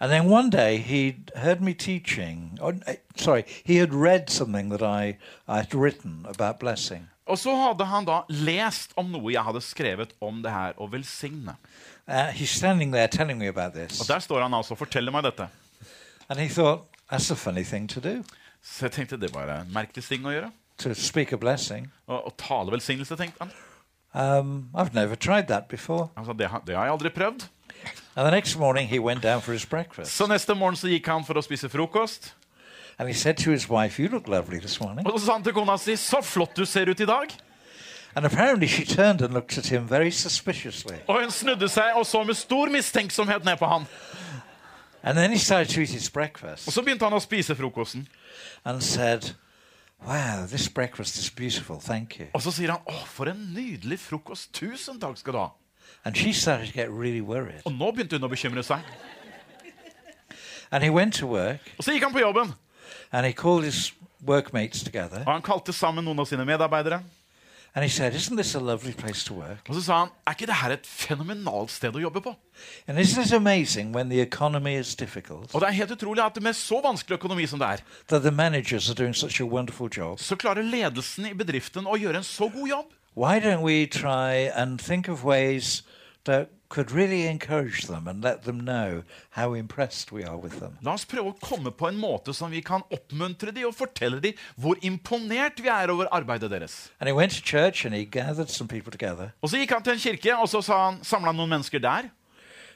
Speaker 2: And then one day he heard me teaching. Or, eh, sorry, he had read something that I I had written about blessing,
Speaker 3: Og så hadde han da lest om noe jeg hadde skrevet om det her å velsigne.
Speaker 2: Uh, he's standing there telling me about
Speaker 3: Og
Speaker 2: this,
Speaker 3: der står han altså og forteller meg dette.
Speaker 2: and he thought that's a funny thing to do
Speaker 3: Så jeg tenkte det var en merkelig ting å gjøre.
Speaker 2: to speak a blessing.
Speaker 3: Å å tale velsignelse, tenkte han.
Speaker 2: Um, I've never tried that before.
Speaker 3: Han sa det, har- det har jeg aldri prøvd.
Speaker 2: And the next morning he went down for his breakfast,
Speaker 3: Så neste morgen så gikk han for å spise frokost.
Speaker 2: and he said to his wife, "You look lovely this morning."
Speaker 3: Og så sa han til kona si 'Så flott du ser ut i dag'.
Speaker 2: And apparently she turned and looked at him very suspiciously.
Speaker 3: Og hun snudde seg og så med stor mistenksomhet ned på han.
Speaker 2: And then he started to eat his
Speaker 3: Og
Speaker 2: breakfast
Speaker 3: så begynte han å spise frokosten.
Speaker 2: and said, "Wow, this breakfast is beautiful. Thank you."
Speaker 3: Og så sier han 'Å, for en nydelig frokost. Tusen takk skal du ha'.
Speaker 2: And she started to get really worried.
Speaker 3: Og nå begynte hun å bekymre seg.
Speaker 2: And he went to work
Speaker 3: Og så gikk han på jobben.
Speaker 2: and he called his workmates together
Speaker 3: Og han kalte sammen noen av sine medarbeidere.
Speaker 2: and he said, Isn't this a lovely place to work?
Speaker 3: Og så sa han 'Er ikke det her et fenomenalt sted å jobbe på?'
Speaker 2: And isn't it amazing when the economy is difficult
Speaker 3: Og det er helt utrolig at med så vanskelig økonomi som det er,
Speaker 2: that the managers are doing such a wonderful job?
Speaker 3: så klarer ledelsen i bedriften å gjøre en så god jobb.
Speaker 2: Why don't we try and think of ways that could really encourage them and let them know how impressed we are with them?
Speaker 3: La oss prøve å komme på en måte som vi kan oppmuntre de og fortelle de hvor imponert vi er over arbeidet deres.
Speaker 2: And he went to church and he gathered some people together
Speaker 3: Og så gikk han til en kirke, og så sa han, samla han noen mennesker der.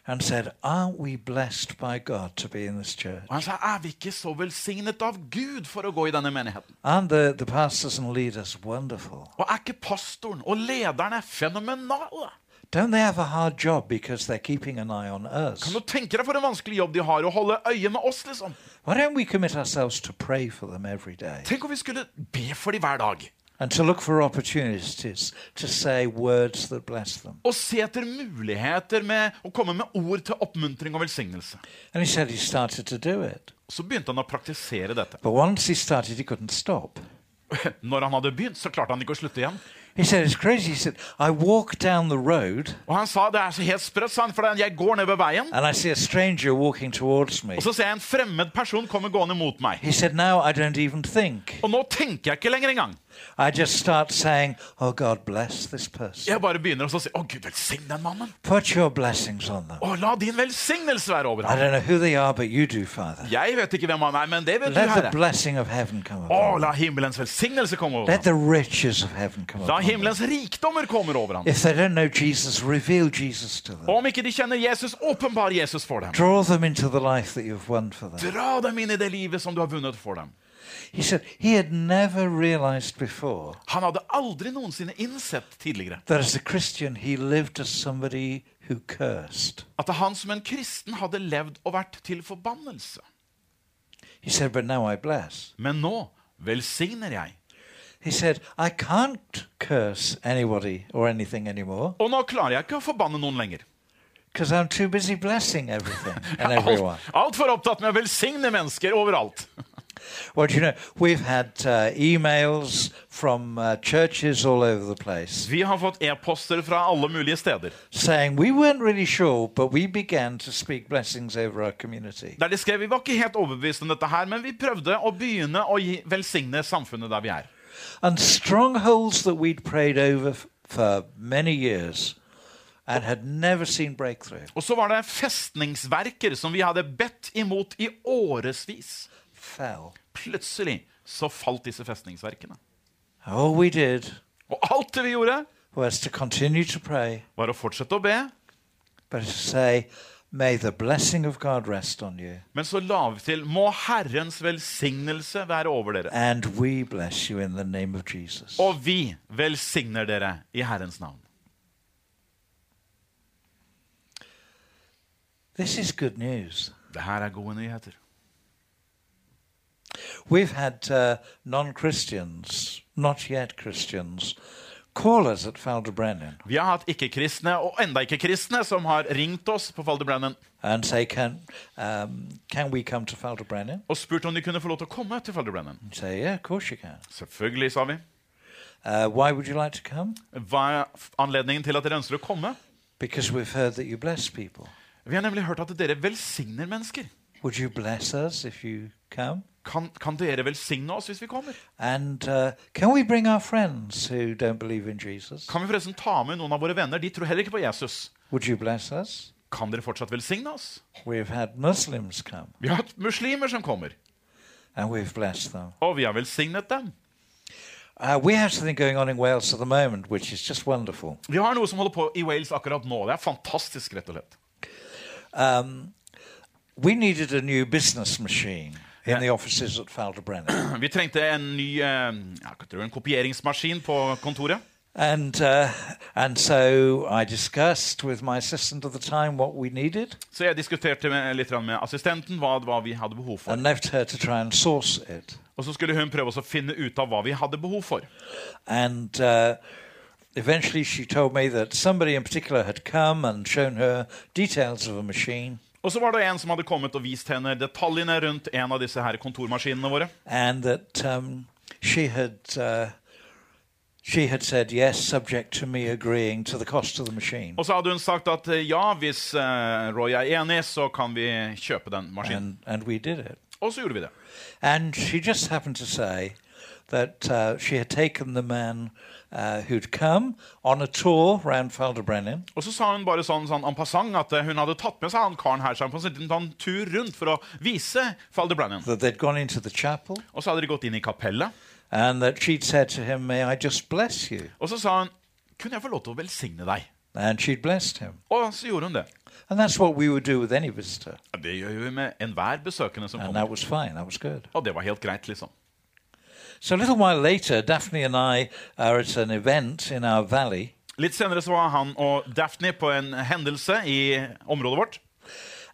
Speaker 2: and said, Aren't we blessed by God to be in this church?
Speaker 3: Og han sa, er vi ikke så velsignet av Gud for å gå i denne menigheten?
Speaker 2: Aren't the, the pastors and leaders wonderful?
Speaker 3: Og er ikke pastoren og lederne fenomenale?
Speaker 2: Don't they have a hard job because they're keeping an eye on us?
Speaker 3: Kan du tenke deg for en vanskelig jobb de har, å holde øye med oss, liksom?
Speaker 2: Why don't we commit ourselves to pray for them every day?
Speaker 3: Tenk om vi skulle be for de hver dag.
Speaker 2: and to look for opportunities to say words that bless them.
Speaker 3: Og se etter muligheter med å komme med ord til oppmuntring og velsignelse.
Speaker 2: And he said he started to do it.
Speaker 3: Så begynte han å praktisere dette.
Speaker 2: But once he started, he couldn't stop.
Speaker 3: Når han hadde begynt, så klarte han ikke å slutte igjen.
Speaker 2: He said, It's crazy. He said, I walk down the road
Speaker 3: Og han sa det er så helt sprøtt, sa han, for jeg går ned ved veien,
Speaker 2: and I see a stranger walking towards me.
Speaker 3: og så ser jeg en fremmed person komme gående mot meg.
Speaker 2: He said, Now I don't even think.
Speaker 3: Og nå tenker jeg ikke lenger engang.
Speaker 2: I just start saying, Oh, God, bless this person.
Speaker 3: Jeg bare begynner å si Å, Gud, velsign den mannen.
Speaker 2: Put your blessings on them.
Speaker 3: Å, la din velsignelse være over
Speaker 2: I
Speaker 3: ham.
Speaker 2: don't know who they are, but you do, Father.
Speaker 3: Jeg vet ikke hvem han er, men det vet du,
Speaker 2: Let the
Speaker 3: Herre.
Speaker 2: blessing of heaven come
Speaker 3: Å,
Speaker 2: upon them.
Speaker 3: la himmelens velsignelse komme over
Speaker 2: Let
Speaker 3: ham.
Speaker 2: the riches of heaven come upon
Speaker 3: La
Speaker 2: them.
Speaker 3: himmelens rikdommer komme over ham.
Speaker 2: If they don't know Jesus, reveal Jesus to
Speaker 3: Og
Speaker 2: them.
Speaker 3: om ikke de kjenner Jesus, åpenbar Jesus for dem.
Speaker 2: Draw them into the life that you've won for them.
Speaker 3: Dra dem inn i det livet som du har vunnet for dem.
Speaker 2: He said he had never realized before
Speaker 3: Han hadde aldri noensinne innsett tidligere
Speaker 2: that as a Christian he lived as somebody who cursed.
Speaker 3: at han som en kristen hadde levd og vært til forbannelse.
Speaker 2: He said, But now I bless.
Speaker 3: Men nå velsigner jeg.
Speaker 2: He said, I can't curse anybody or anything anymore
Speaker 3: Og nå klarer jeg ikke å forbanne noen lenger.
Speaker 2: because I'm too busy blessing everything and everyone.
Speaker 3: Alt- Altfor opptatt med å velsigne mennesker overalt.
Speaker 2: Well, do you know, we've had uh, emails from uh, churches all over the place
Speaker 3: Vi har fått e-poster fra alle mulige steder
Speaker 2: saying we weren't really sure, but we began to speak blessings over our community.
Speaker 3: der de skrev vi var ikke helt overbevist om dette her, men vi prøvde å begynne å gi, velsigne samfunnet der vi er.
Speaker 2: And strongholds that we'd prayed over f- for many years and had never seen breakthrough.
Speaker 3: Og så var det festningsverker som vi hadde bedt imot i årevis.
Speaker 2: fell.
Speaker 3: Plutselig så falt disse festningsverkene.
Speaker 2: All we did
Speaker 3: Og alt det vi gjorde,
Speaker 2: was to continue to pray,
Speaker 3: var å fortsette å be,
Speaker 2: but to say, May the blessing of God rest on you,
Speaker 3: men så la vi til Må Herrens velsignelse være over dere.
Speaker 2: and we bless you in the name of Jesus.
Speaker 3: Og vi velsigner dere i Herrens navn.
Speaker 2: This is good news.
Speaker 3: Det her er gode nyheter.
Speaker 2: We've had uh, non Christians, not yet Christians, call us at Falderbrennen
Speaker 3: Vi har hatt ikke-kristne og enda ikke-kristne som har ringt oss på Falderbrennen
Speaker 2: and say, Can, um, can we come to Falderbrennen?
Speaker 3: og spurt om de kunne få lov til å komme til Falderbrennen.
Speaker 2: And say, Yeah, of course you can.
Speaker 3: Selvfølgelig, sa vi.
Speaker 2: Uh, why would you like to come?
Speaker 3: Hva er f- anledningen til at dere ønsker å komme?
Speaker 2: Because we've heard that you bless people.
Speaker 3: Vi har nemlig hørt at dere velsigner mennesker.
Speaker 2: Would you bless us if you come?
Speaker 3: Kan, kan dere velsigne oss hvis vi kommer?
Speaker 2: And uh, can we bring our friends who don't believe in Jesus?
Speaker 3: Kan vi forresten ta med noen av våre venner? De tror heller ikke på Jesus.
Speaker 2: Would you bless us?
Speaker 3: Kan dere fortsatt velsigne oss?
Speaker 2: We've had Muslims come
Speaker 3: Vi har hatt muslimer som kommer,
Speaker 2: and we've blessed them.
Speaker 3: og vi har velsignet dem.
Speaker 2: Uh, we have something going on in Wales at the moment, which is just wonderful.
Speaker 3: Vi har noe som holder på i Wales akkurat nå. Det er fantastisk, rett og slett.
Speaker 2: Um, we needed a new business machine in
Speaker 3: Yeah.
Speaker 2: the offices at Falderbrenner.
Speaker 3: Vi trengte en ny eh, ja, hva tror du, en kopieringsmaskin på kontoret.
Speaker 2: and, uh, and so I discussed with my assistant at the time what we needed
Speaker 3: Så jeg diskuterte med, litt grann med assistenten hva, hva vi hadde behov for.
Speaker 2: and left her to try and source it.
Speaker 3: Og så skulle hun prøve oss å finne ut av hva vi hadde behov for.
Speaker 2: And uh, eventually she told me that somebody in particular had come and shown her details of a machine.
Speaker 3: Og så var det en som hadde kommet og vist henne detaljene rundt en av disse her kontormaskinene våre.
Speaker 2: And that um, she had. Uh, she had said yes, subject to me agreeing to the cost of the machine.
Speaker 3: Og så hadde hun sagt at eh, ja, hvis eh, Roy er enig, så kan vi kjøpe den maskinen.
Speaker 2: And, and we did it.
Speaker 3: Og så gjorde vi det.
Speaker 2: And she just happened to say that uh, she had taken the man uh, who'd come on a tour round Falderbrennen
Speaker 3: Og så sa hun bare sånn, sånn en passant at eh, hun hadde tatt med seg han karen her sammen på en sånn tur rundt for å vise Falder Brennan.
Speaker 2: that they'd gone into the chapel,
Speaker 3: Og så hadde de gått inn i kapellet,
Speaker 2: and that she'd said to him, May I just bless you?
Speaker 3: og så sa hun kunne jeg få lov til å velsigne deg?
Speaker 2: And she'd blessed him.
Speaker 3: Og så gjorde hun det.
Speaker 2: And that's what we would do with any visitor.
Speaker 3: Ja, Det gjør vi med enhver besøkende som
Speaker 2: And
Speaker 3: kommer.
Speaker 2: that was fine. That was good.
Speaker 3: Og det var helt greit, liksom.
Speaker 2: So a little while later, Daphne and I are at an event in our valley.
Speaker 3: Litt senere så var han og Daphne på en hendelse i området vårt.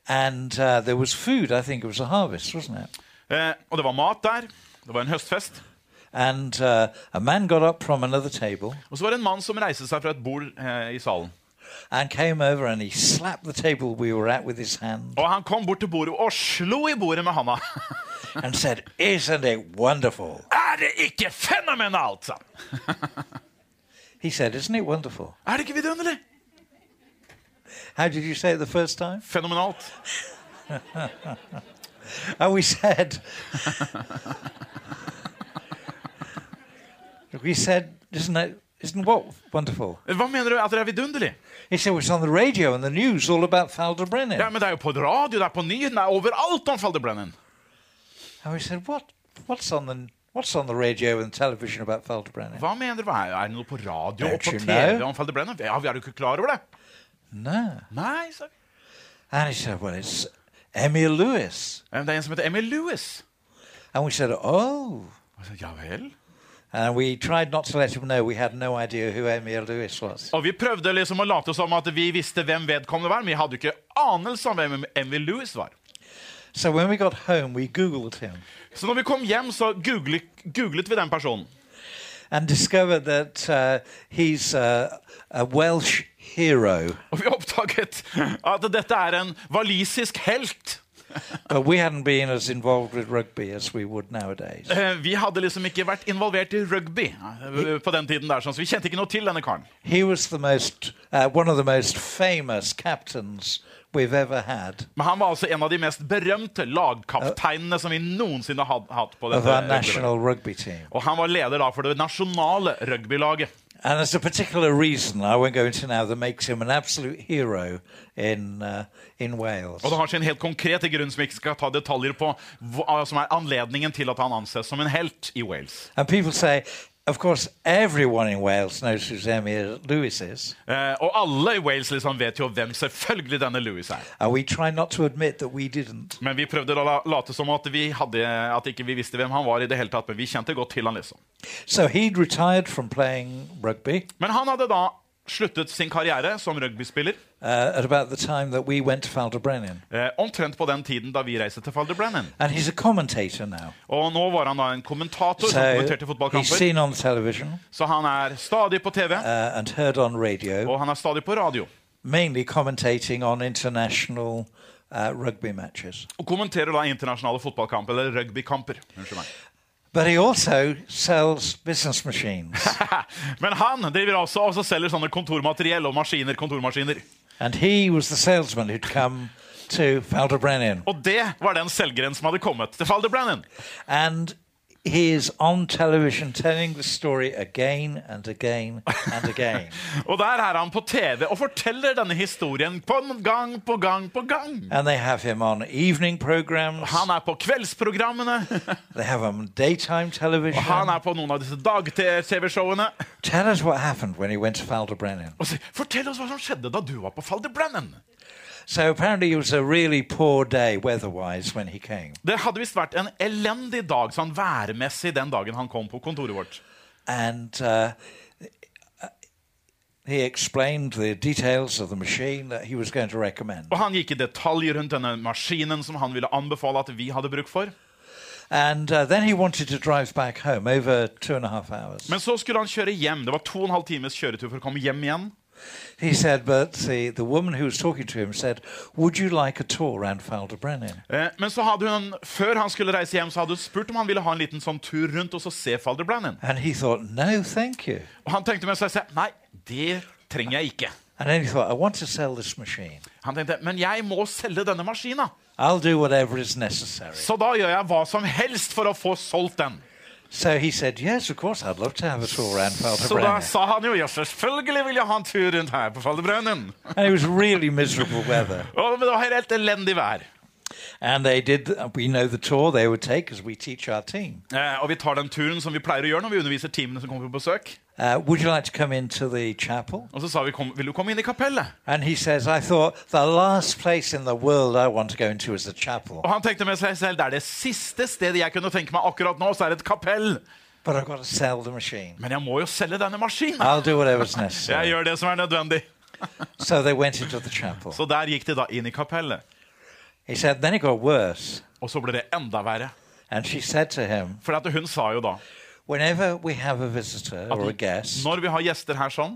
Speaker 2: And uh, there was food. I think it was a harvest, wasn't it?
Speaker 3: Eh, og det var mat der. Det var en høstfest.
Speaker 2: And uh, a man got up from another table
Speaker 3: Og så var det en mann som reiste seg fra et bord eh, i salen.
Speaker 2: and came over and he slapped the table we were at with his hand
Speaker 3: Og han kom bort til bordet og slo i bordet med handa.
Speaker 2: and said, Isn't it wonderful?
Speaker 3: Er det ikke fenomenalt, sa han.
Speaker 2: He said, Isn't it wonderful?
Speaker 3: Er det ikke vidunderlig?
Speaker 2: How did you say it the first time?
Speaker 3: Fenomenalt.
Speaker 2: And we said, We said, Isn't it? Isn't what wonderful?
Speaker 3: Hva mener du at det er vidunderlig?
Speaker 2: He said, well, It's on the radio and the news all about Faldebrennen.
Speaker 3: Ja, men Det er jo på radio, det er på nyheten, det er overalt om Faldebrennen.
Speaker 2: And we said, "What? What's on the What's on the radio and television about Feldbrenner?"
Speaker 3: Hva mener du? Er er det noe på radio og på
Speaker 2: Don't you
Speaker 3: TV
Speaker 2: know?
Speaker 3: om Faldebrennen? Ja, vi er jo ikke klar over det.
Speaker 2: No.
Speaker 3: Nei, sa vi.
Speaker 2: And he said, "Well, it's Emil Lewis."
Speaker 3: Ja, men Eh, Det er en som heter Emil Lewis.
Speaker 2: And we said, "Oh."
Speaker 3: Og så, Ja vel?
Speaker 2: And we tried not to let him know we had no idea who Emil Lewis was.
Speaker 3: Og vi prøvde liksom å late som at vi visste hvem vedkommende var, men vi hadde jo ikke anelse om hvem Emil Lewis var.
Speaker 2: So when we got home, we Googled him
Speaker 3: Så når vi kom hjem, så googlet, googlet vi den personen.
Speaker 2: and discovered that uh, he's uh, a Welsh hero,
Speaker 3: Og vi oppdaget at dette er en walisisk helt.
Speaker 2: but we hadn't been as involved with rugby as we would nowadays.
Speaker 3: Eh, Vi hadde liksom ikke vært involvert i rugby eh, på den tiden der, sånn, så vi kjente ikke noe til denne karen.
Speaker 2: He was the most, uh, one of the most famous captains we've ever had
Speaker 3: Men han var altså en av de mest berømte lagkapteinene som vi noensinne har hatt på
Speaker 2: of
Speaker 3: dette.
Speaker 2: our
Speaker 3: rugbylaget.
Speaker 2: national rugby team.
Speaker 3: Og han var leder da for det nasjonale rugbylaget.
Speaker 2: And there's a particular reason I won't go into now that makes him an absolute hero in uh, in Wales.
Speaker 3: Og det har sin helt konkrete grunn som jeg ikke skal ta detaljer på, hva som er anledningen til at han anses som en helt i Wales.
Speaker 2: And people say, of course, everyone in Wales knows who Emil Lewis is,
Speaker 3: Eh, og alle i Wales liksom vet jo hvem selvfølgelig denne Louis er.
Speaker 2: and we try not to admit that we didn't.
Speaker 3: Men vi prøvde å la- late som at vi hadde, at ikke vi visste hvem han var i det hele tatt, men vi kjente godt til han liksom.
Speaker 2: So he'd retired from playing rugby
Speaker 3: Men han hadde da sluttet sin karriere som rugbyspiller
Speaker 2: uh, at about the time that we went to Faldebrennen,
Speaker 3: eh, omtrent på den tiden da vi reiste til Faldebrennen.
Speaker 2: and he's a commentator now.
Speaker 3: Og nå var han da en kommentator som
Speaker 2: So
Speaker 3: kommenterte
Speaker 2: he's
Speaker 3: fotballkamper,
Speaker 2: seen on television
Speaker 3: så han er stadig på TV,
Speaker 2: uh, and heard on radio.
Speaker 3: og han er stadig på radio.
Speaker 2: mainly commentating on international uh, rugby matches.
Speaker 3: Og kommenterer da internasjonale fotballkamper, eller rugbykamper. Unnskyld meg.
Speaker 2: But he also sells business machines.
Speaker 3: Men han driver også, også selger sånne kontormateriell og maskiner, kontormaskiner.
Speaker 2: and he was the salesman who'd come to Feldebrennen.
Speaker 3: Og det var den selgeren som hadde kommet til Faldebrennen.
Speaker 2: And he is on television telling the story again and again and again.
Speaker 3: Og der er han på TV og forteller denne historien på en gang på gang på gang.
Speaker 2: and they have him on evening programs,
Speaker 3: Han er på kveldsprogrammene,
Speaker 2: they have him on daytime television.
Speaker 3: han er på noen av disse dag-TV-showene.
Speaker 2: Tell us what happened when he went to Feldebrennen.
Speaker 3: Og sier 'Fortell oss hva som skjedde da du var på Faldebrennen'.
Speaker 2: So apparently it was a really poor day weather-wise when he came.
Speaker 3: Det hadde visst vært en elendig dag sånn værmessig den dagen han kom på kontoret vårt.
Speaker 2: and uh, he explained the details of the machine that he was going to recommend.
Speaker 3: Og han gikk i detalj rundt denne maskinen som han ville anbefale at vi hadde bruk for.
Speaker 2: And uh, then he wanted to drive back home over two and a half hours.
Speaker 3: Men så skulle han kjøre hjem. Det var to og en halv times kjøretur for å komme hjem igjen.
Speaker 2: He said, but the, the woman who was talking to him said, Would you like a tour around Faldebrennen?
Speaker 3: Eh, Men så hadde hun, før han skulle reise hjem, så hadde hun spurt om han ville ha en liten sånn tur rundt og så se Falderbrennen.
Speaker 2: And he thought, No, thank you.
Speaker 3: Og han tenkte med seg selv nei, det trenger jeg ikke.
Speaker 2: And then he thought, I want to sell this machine.
Speaker 3: Han tenkte men jeg må selge denne maskina,
Speaker 2: I'll do whatever is necessary.
Speaker 3: så da gjør jeg hva som helst for å få solgt den.
Speaker 2: So he said, Yes, of course, I'd love to have a tour around
Speaker 3: Så da
Speaker 2: Faldebrennen.
Speaker 3: sa han jo ja, selvfølgelig vil jeg ha en tur rundt her på Falderbrennen.
Speaker 2: And it was really miserable weather.
Speaker 3: Og det var helt elendig vær.
Speaker 2: And they did. We know the tour they would take as we teach our team.
Speaker 3: Eh, og vi tar den turen som vi pleier å gjøre når vi underviser teamene som kommer på besøk.
Speaker 2: Uh, would you like to come into the chapel?
Speaker 3: Og så sa vi kom, vil du komme inn i kapellet?
Speaker 2: And he says, I thought the last place in the world I want to go into is the chapel,
Speaker 3: Og han tenkte med seg selv det er det siste stedet jeg kunne tenke meg akkurat nå, så er det et kapell.
Speaker 2: but I've got to sell the machine.
Speaker 3: Men jeg må jo selge denne maskinen.
Speaker 2: I'll do whatever's
Speaker 3: Jeg
Speaker 2: necessary.
Speaker 3: gjør det som er nødvendig.
Speaker 2: So they went into the chapel.
Speaker 3: Så der gikk de da inn i kapellet.
Speaker 2: He said, then it got worse.
Speaker 3: Og så ble det enda verre.
Speaker 2: And she said to him,
Speaker 3: For at hun sa jo da
Speaker 2: whenever we have a visitor or a guest,
Speaker 3: Når vi har gjester her sånn,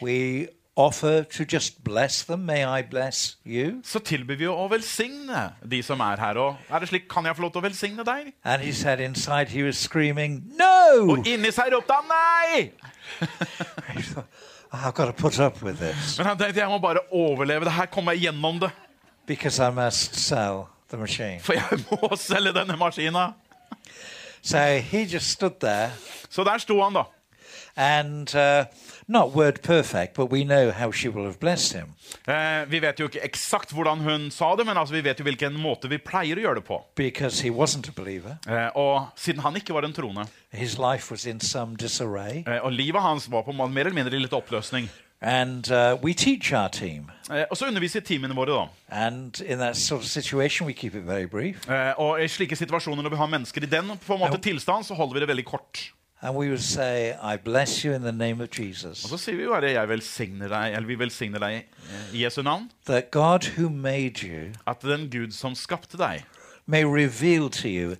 Speaker 2: we offer to just bless them. May I bless you?
Speaker 3: så tilbyr vi jo å velsigne de som er her. Og er det slik, kan jeg få lov til å velsigne deg?
Speaker 2: And he said inside he was screaming, No!
Speaker 3: Og inni seg ropte han nei!
Speaker 2: I thought, I've got to put up with this
Speaker 3: Men han tenkte jeg må bare overleve det her, komme meg gjennom det.
Speaker 2: because I must sell the machine.
Speaker 3: For jeg må selge denne maskina.
Speaker 2: So he just stood there
Speaker 3: Så der sto han, da.
Speaker 2: and uh, not word perfect, but we know how she will have blessed him
Speaker 3: Eh, vi vet jo ikke eksakt hvordan hun sa det, men altså, vi vet jo hvilken måte vi pleier å gjøre det på.
Speaker 2: because he wasn't a believer.
Speaker 3: Eh, og siden han ikke var en troende,
Speaker 2: His life was in some disarray.
Speaker 3: eh, og livet hans var på mer eller mindre i litt oppløsning
Speaker 2: And uh, we teach our team.
Speaker 3: eh, Og så underviser teamene våre, da.
Speaker 2: And in that sort of situation, we keep it very brief.
Speaker 3: Eh, og i slike situasjoner når vi har mennesker i den på en måte
Speaker 2: Ja.
Speaker 3: tilstand, så holder vi det veldig kort.
Speaker 2: And we would say, I bless you in the name of
Speaker 3: Og
Speaker 2: Jesus,
Speaker 3: så sier vi bare 'Jeg velsigner deg', eller 'Vi velsigner deg' eh, i Jesu navn.
Speaker 2: that God who made you
Speaker 3: At den Gud som skapte deg,
Speaker 2: may reveal to you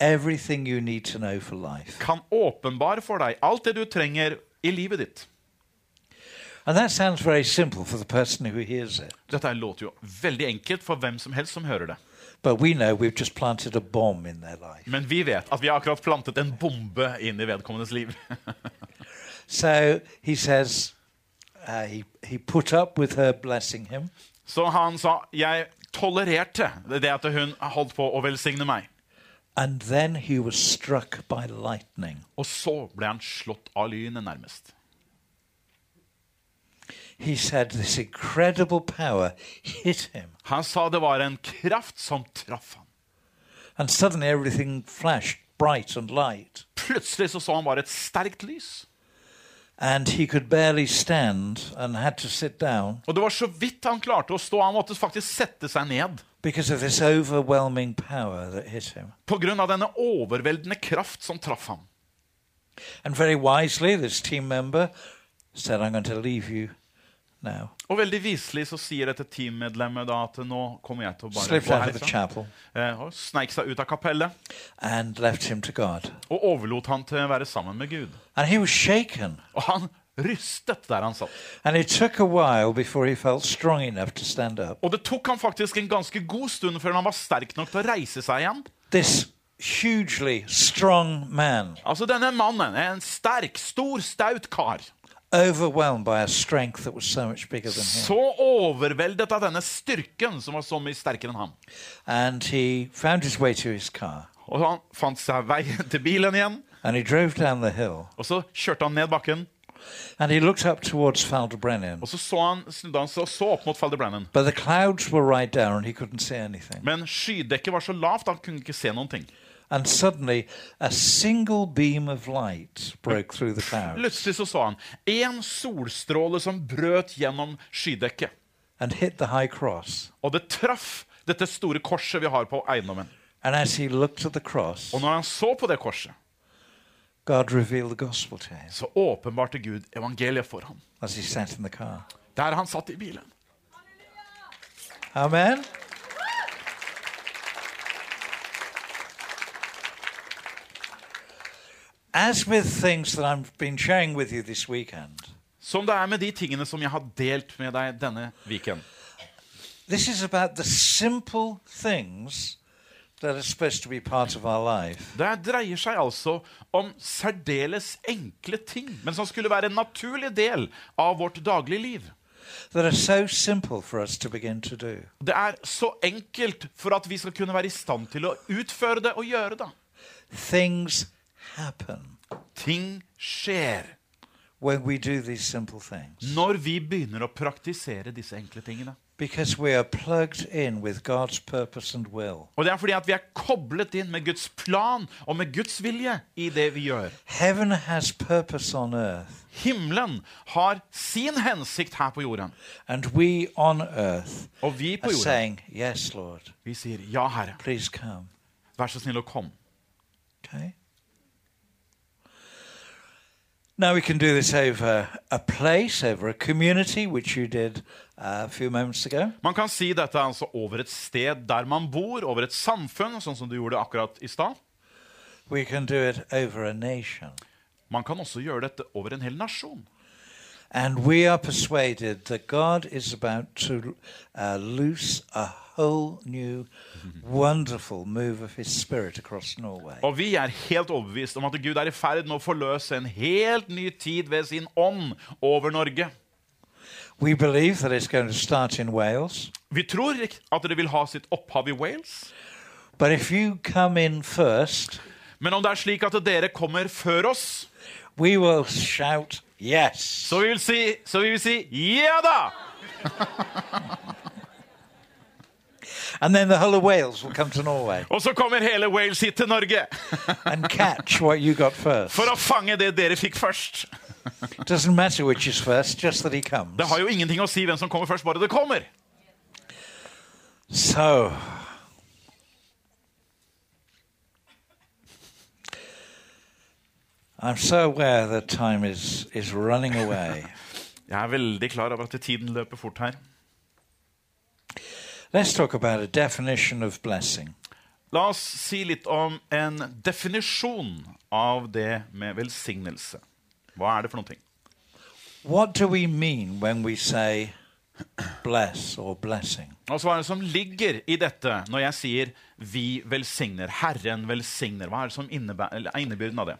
Speaker 2: everything you need to know for life.
Speaker 3: kan åpenbare for deg alt det du trenger i livet ditt.
Speaker 2: And that sounds very simple for the person who hears it.
Speaker 3: Dette her låter jo veldig enkelt for hvem som helst som hører det.
Speaker 2: But we know we've just planted a bomb in their life.
Speaker 3: Men vi vet at vi har akkurat plantet en bombe inn i vedkommendes liv.
Speaker 2: So he says, uh, he, he put up with her blessing him.
Speaker 3: Så han sa 'Jeg tolererte det at hun holdt på å velsigne meg'.
Speaker 2: And then he was struck by lightning.
Speaker 3: Og så ble han slått av lynet, nærmest.
Speaker 2: He said this incredible power hit him.
Speaker 3: Han sa det var en kraft som traff han.
Speaker 2: And suddenly everything flashed bright and light.
Speaker 3: Plutselig så, så han bare et sterkt lys.
Speaker 2: And he could barely stand and had to sit down
Speaker 3: Og det var så vidt han klarte å stå. Han måtte faktisk sette seg ned.
Speaker 2: because of this overwhelming power that hit him.
Speaker 3: På grunn av denne overveldende kraft som traff ham.
Speaker 2: And very wisely, this team member said, I'm going to leave you now.
Speaker 3: Og veldig viselig så sier dette teammedlemmet da at nå kommer jeg til å bare
Speaker 2: Slipped
Speaker 3: gå
Speaker 2: out of the
Speaker 3: herfra.
Speaker 2: chapel
Speaker 3: Eh, Og sneik seg ut av kapellet
Speaker 2: and left him to God.
Speaker 3: og overlot han til å være sammen med Gud.
Speaker 2: And he was shaken.
Speaker 3: Og han rystet der han satt.
Speaker 2: And it took a while before he felt strong enough to stand up.
Speaker 3: Og det tok han faktisk en ganske god stund før han var sterk nok til å reise seg igjen.
Speaker 2: This hugely strong man,
Speaker 3: Altså Denne mannen er en sterk, stor, staut kar.
Speaker 2: overwhelmed by a strength that was so much bigger than him.
Speaker 3: Så overveldet av denne styrken som var så mye sterkere enn ham.
Speaker 2: and he found his way to his car
Speaker 3: Og han fant seg veien til bilen igjen,
Speaker 2: and he drove down the hill
Speaker 3: og så kjørte han ned bakken.
Speaker 2: and he looked up towards Faldebrennen.
Speaker 3: Og så så han, snudde han seg og så opp mot Falder Brennan.
Speaker 2: But the clouds were right down and he couldn't see anything.
Speaker 3: Men skydekket var så lavt, han kunne ikke se noen ting.
Speaker 2: And suddenly a single beam of light broke through the cloud
Speaker 3: Plutselig så så han én solstråle som brøt gjennom skydekket.
Speaker 2: and hit the high cross.
Speaker 3: Og det traff dette store korset vi har på eiendommen.
Speaker 2: And as he looked at the cross,
Speaker 3: Og når han så på det korset,
Speaker 2: God revealed the gospel to him
Speaker 3: så åpenbarte Gud evangeliet for ham.
Speaker 2: as he sat in the car.
Speaker 3: Der han satt i bilen.
Speaker 2: Amen. As with things that I've been sharing with you this weekend,
Speaker 3: Som det er med de tingene som jeg har delt med deg denne viken.
Speaker 2: this is about the simple things that are supposed to be part of our life.
Speaker 3: Det dreier seg altså om særdeles enkle ting, men som skulle være en naturlig del av vårt daglige liv.
Speaker 2: that are so simple for us to begin to do.
Speaker 3: Det er så enkelt for at vi skal kunne være i stand til å utføre det og gjøre det.
Speaker 2: Things happen
Speaker 3: Ting skjer
Speaker 2: when we do these simple things
Speaker 3: når vi begynner å praktisere disse enkle tingene.
Speaker 2: because we are plugged in with God's purpose and will.
Speaker 3: Og det er fordi at vi er koblet inn med Guds plan og med Guds vilje i det vi gjør.
Speaker 2: Heaven has purpose on earth,
Speaker 3: Himmelen har sin hensikt her på jorden,
Speaker 2: and we on earth
Speaker 3: og vi
Speaker 2: are
Speaker 3: på jorden.
Speaker 2: saying, Yes, Lord,
Speaker 3: Vi sier 'Ja, Herre,
Speaker 2: please come.
Speaker 3: vær så snill å komme'.
Speaker 2: Okay? Now we can do this over a place, over a community, which you did uh, a few moments ago.
Speaker 3: Man kan si dette altså over et sted der man bor, over et samfunn, sånn som du gjorde akkurat i stad.
Speaker 2: we can do it over a nation.
Speaker 3: Man kan også gjøre dette over en hel nasjon.
Speaker 2: And we are persuaded that God is about to uh, loose a whole new, wonderful move of His Spirit across Norway.
Speaker 3: Og vi er helt overbevist om at Gud er i ferd med å forløse en helt ny tid ved sin ånd over Norge.
Speaker 2: We believe that it's going to start in Wales.
Speaker 3: Vi tror at det vil ha sitt opphav i Wales.
Speaker 2: But if you come in first,
Speaker 3: Men om det er slik at dere kommer før oss,
Speaker 2: we will shout yes.
Speaker 3: så vi vil si, så vi vil si ja da!
Speaker 2: And then the whole of Wales will come to Norway
Speaker 3: Og så kommer hele Wales hit til Norge
Speaker 2: and catch what you got first.
Speaker 3: for å fange det dere fikk først.
Speaker 2: It doesn't matter which is first, just that he comes.
Speaker 3: Det har jo ingenting å si hvem som kommer først, bare det kommer.
Speaker 2: So, I'm so aware that time is, is running away.
Speaker 3: Jeg er veldig klar over at tiden løper fort her.
Speaker 2: Let's talk about a definition of blessing.
Speaker 3: La oss si litt om en definisjon av det med velsignelse. Hva er det for noen ting?
Speaker 2: What do we mean when we say bless or blessing?
Speaker 3: Og så Altså, hva er det som ligger i dette når jeg sier 'vi velsigner', 'Herren velsigner'? Hva er det som innebæ- eller er innebyrden av det?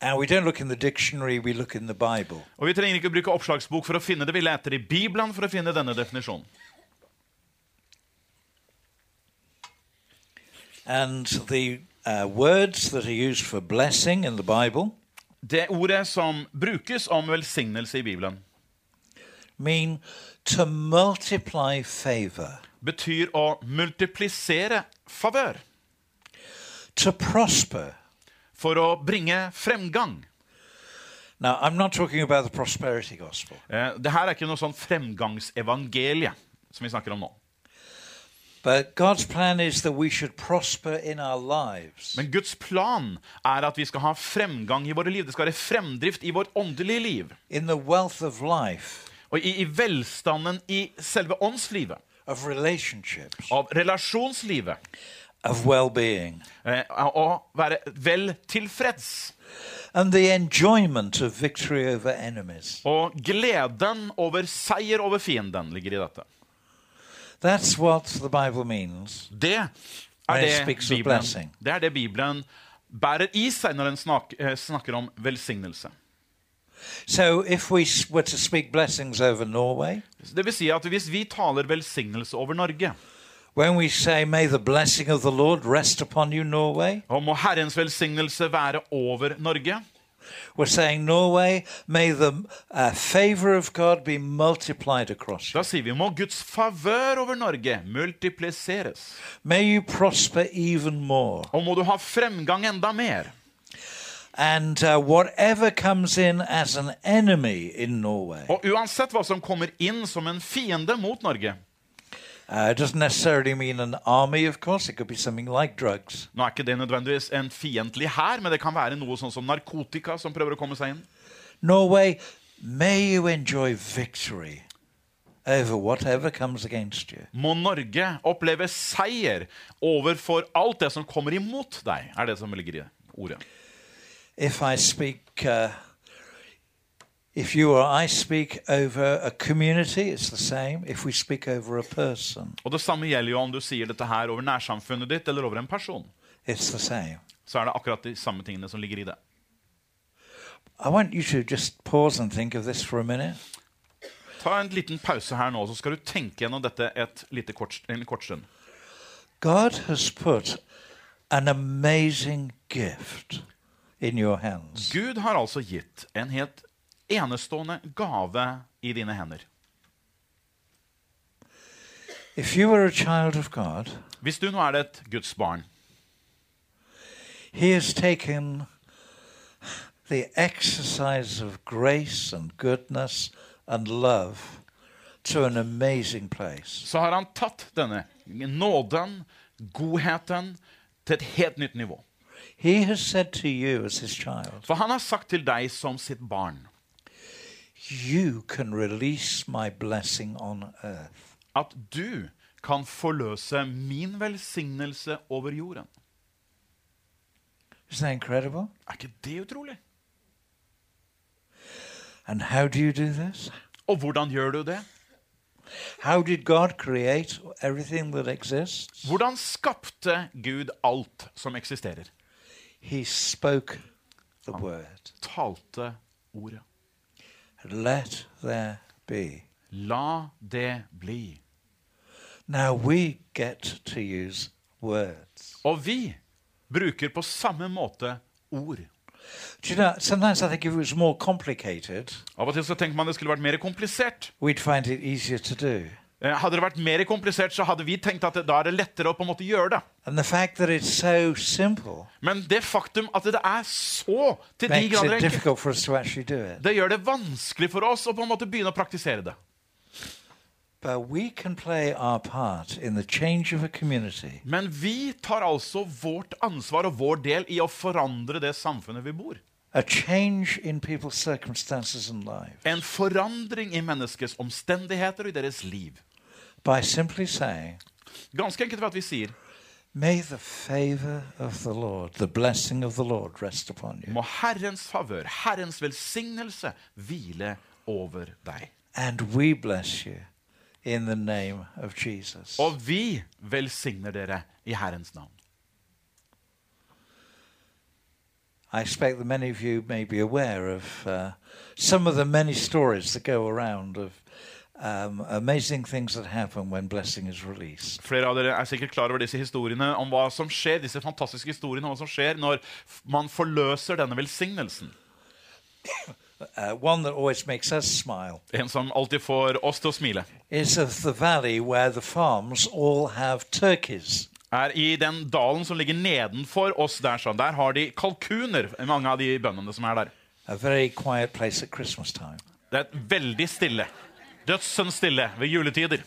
Speaker 2: And we don't look in the dictionary, we look in the Bible.
Speaker 3: Og Vi trenger ikke å bruke oppslagsbok for å finne det. Vi leter i Bibelen for å finne denne definisjonen.
Speaker 2: And the uh, words that are used for blessing in the Bible
Speaker 3: Det ordet som brukes om velsignelse i Bibelen,
Speaker 2: mean to multiply favor,
Speaker 3: betyr å multiplisere favør.
Speaker 2: to prosper.
Speaker 3: For å bringe fremgang.
Speaker 2: Now, I'm not talking about the prosperity gospel,
Speaker 3: Eh, Det her er ikke noe sånn fremgangsevangelie som vi snakker om nå.
Speaker 2: but God's plan is that we should prosper in our lives.
Speaker 3: Men Guds plan er at vi skal ha fremgang i våre liv. Det skal være fremdrift i vårt åndelige liv.
Speaker 2: in the wealth of life,
Speaker 3: Og i, i velstanden i selve åndslivet,
Speaker 2: of relationships,
Speaker 3: av relasjonslivet,
Speaker 2: of well being,
Speaker 3: eh, å være vel tilfreds.
Speaker 2: and the enjoyment of victory over enemies.
Speaker 3: Og gleden over seier over fienden ligger i dette.
Speaker 2: That's what the Bible means.
Speaker 3: Det
Speaker 2: When
Speaker 3: er
Speaker 2: it
Speaker 3: det
Speaker 2: speaks of
Speaker 3: Bibelen,
Speaker 2: blessing.
Speaker 3: det er det Bibelen bærer i seg når den snak, eh, snakker om velsignelse.
Speaker 2: So, if we s- were to speak blessings over Norway,
Speaker 3: Det vil si at hvis vi taler velsignelse over Norge,
Speaker 2: when we say, May the blessing of the Lord rest upon you, Norway,
Speaker 3: og må Herrens velsignelse være over Norge,
Speaker 2: We're saying, Norway, may the uh, favor of God be multiplied across you.
Speaker 3: da sier vi må Guds favør over Norge multipliseres.
Speaker 2: May you prosper even more.
Speaker 3: Og må du ha fremgang enda mer.
Speaker 2: And uh, whatever comes in as an enemy in Norway,
Speaker 3: Og uansett hva som kommer inn som en fiende mot Norge
Speaker 2: uh, it doesn't necessarily mean an army, of course, it could be something like drugs.
Speaker 3: Nå er ikke det nødvendigvis en fiendtlig hær, men det kan være noe sånn som narkotika som prøver å komme seg inn.
Speaker 2: Norway, may you enjoy victory over whatever comes against you.
Speaker 3: Må Norge oppleve seier overfor alt det som kommer imot deg, er det som ligger i ordet.
Speaker 2: If I speak. Uh, if you or I speak over a community, it's the same. If we speak over a person,
Speaker 3: Og det samme gjelder jo om du sier dette her over nærsamfunnet ditt eller over en person.
Speaker 2: It's the same.
Speaker 3: Så er det akkurat de samme tingene som ligger i det.
Speaker 2: I want you to just pause and think of this for a minute.
Speaker 3: Ta en liten pause her nå, så skal du tenke gjennom dette et lite kort, en kort stund.
Speaker 2: God has put an amazing gift in your hands.
Speaker 3: Gud har altså gitt en helt enestående gave i dine hender.
Speaker 2: If you were a child of God,
Speaker 3: Hvis du nå er et Guds barn,
Speaker 2: He has taken the exercise of grace and goodness and love to an amazing place.
Speaker 3: så har han tatt denne nåden, godheten, til et helt nytt nivå.
Speaker 2: He has said to you as His child,
Speaker 3: For han har sagt til deg som sitt barn
Speaker 2: You can release my blessing on earth.
Speaker 3: at du kan forløse min velsignelse over jorden.
Speaker 2: Isn't that incredible?
Speaker 3: Er ikke det utrolig?
Speaker 2: And how do you do this?
Speaker 3: Og hvordan gjør du det?
Speaker 2: How did God create everything that exists?
Speaker 3: Hvordan skapte Gud alt som eksisterer?
Speaker 2: He spoke the word.
Speaker 3: Talte ordet.
Speaker 2: Let there be.
Speaker 3: La det bli.
Speaker 2: Now we get to use words.
Speaker 3: Og vi bruker på samme måte ord.
Speaker 2: Do you know, sometimes I think if it was more complicated,
Speaker 3: Av og til så tenker man det skulle vært mer komplisert.
Speaker 2: we'd find it easier to do.
Speaker 3: Eh, Hadde det vært mer komplisert, så hadde vi tenkt at det, da er det lettere å på en måte gjøre det.
Speaker 2: And the fact that it's so simple
Speaker 3: Men det faktum at det er så til de
Speaker 2: makes
Speaker 3: grader
Speaker 2: it
Speaker 3: enkelt,
Speaker 2: difficult for us to actually do it.
Speaker 3: det gjør det vanskelig for oss å på en måte begynne å praktisere det.
Speaker 2: But we can play our part in the change of a community
Speaker 3: Men vi tar altså vårt ansvar og vår del i å forandre det samfunnet vi bor.
Speaker 2: a change in people's circumstances and life
Speaker 3: En forandring i menneskets omstendigheter og i deres liv.
Speaker 2: by simply saying,
Speaker 3: Ganske enkelt ved at vi sier
Speaker 2: May the favor of the Lord, the blessing of the Lord rest upon you.
Speaker 3: Må Herrens favør, Herrens velsignelse, hvile over deg.
Speaker 2: And we bless you in the name of Jesus.
Speaker 3: Og vi velsigner dere i Herrens navn.
Speaker 2: I expect that many of you may be aware of uh, some of the many stories that go around of um, amazing things that happen when blessing is released.
Speaker 3: Flere av dere er sikkert klar over disse historiene om hva som skjer, disse fantastiske historiene om hva som skjer når f- man forløser denne velsignelsen.
Speaker 2: Uh, one that always makes us smile
Speaker 3: En som alltid får oss til å smile.
Speaker 2: is of the valley where the farms all have turkeys.
Speaker 3: Er i den dalen som ligger nedenfor oss der. Sånn. Der har de kalkuner, mange av de bøndene som er der.
Speaker 2: A very quiet place at Christmas time.
Speaker 3: Det er veldig stille. Dødsens stille ved juletider.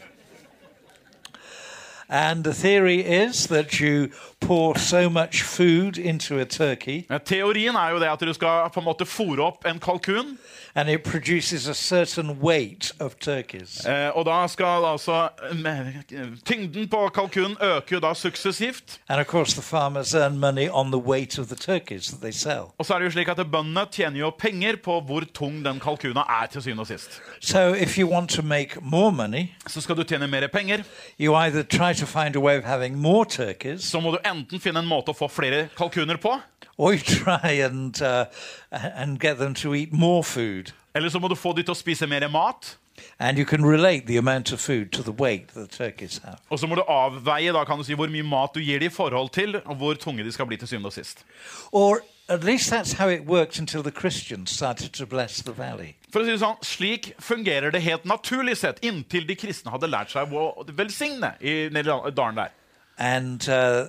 Speaker 2: And the theory is that you pour so much food into a turkey
Speaker 3: Eh, Teorien er jo det at du skal på en måte fòre opp en kalkun.
Speaker 2: and it produces a certain weight of turkeys.
Speaker 3: eh, Og da skal altså eh, Tyngden på kalkunen øker jo da suksessivt.
Speaker 2: And of course, the farmers earn money on the weight of the turkeys that they sell.
Speaker 3: Og så er det jo slik at bøndene tjener jo penger på hvor tung den kalkuna er til syvende og sist.
Speaker 2: So if you want to make more money,
Speaker 3: Så skal du tjene mer penger,
Speaker 2: you either try to find a way of having more turkeys
Speaker 3: så må du enten finne en måte å få flere kalkuner på,
Speaker 2: or you try and, uh, and get them to eat more food.
Speaker 3: eller så må du få de til å spise mer mat.
Speaker 2: And you can relate the amount of food to the weight that the turkeys have.
Speaker 3: Og så må du avveie da kan du si, hvor mye mat du gir de i forhold til, og hvor tunge de skal bli til syvende og sist.
Speaker 2: Or at least that's how it worked until the Christians started to bless the valley.
Speaker 3: For å si det sånn, Slik fungerer det helt naturlig sett, inntil de kristne hadde lært seg å velsigne i nede i dalen der.
Speaker 2: And uh,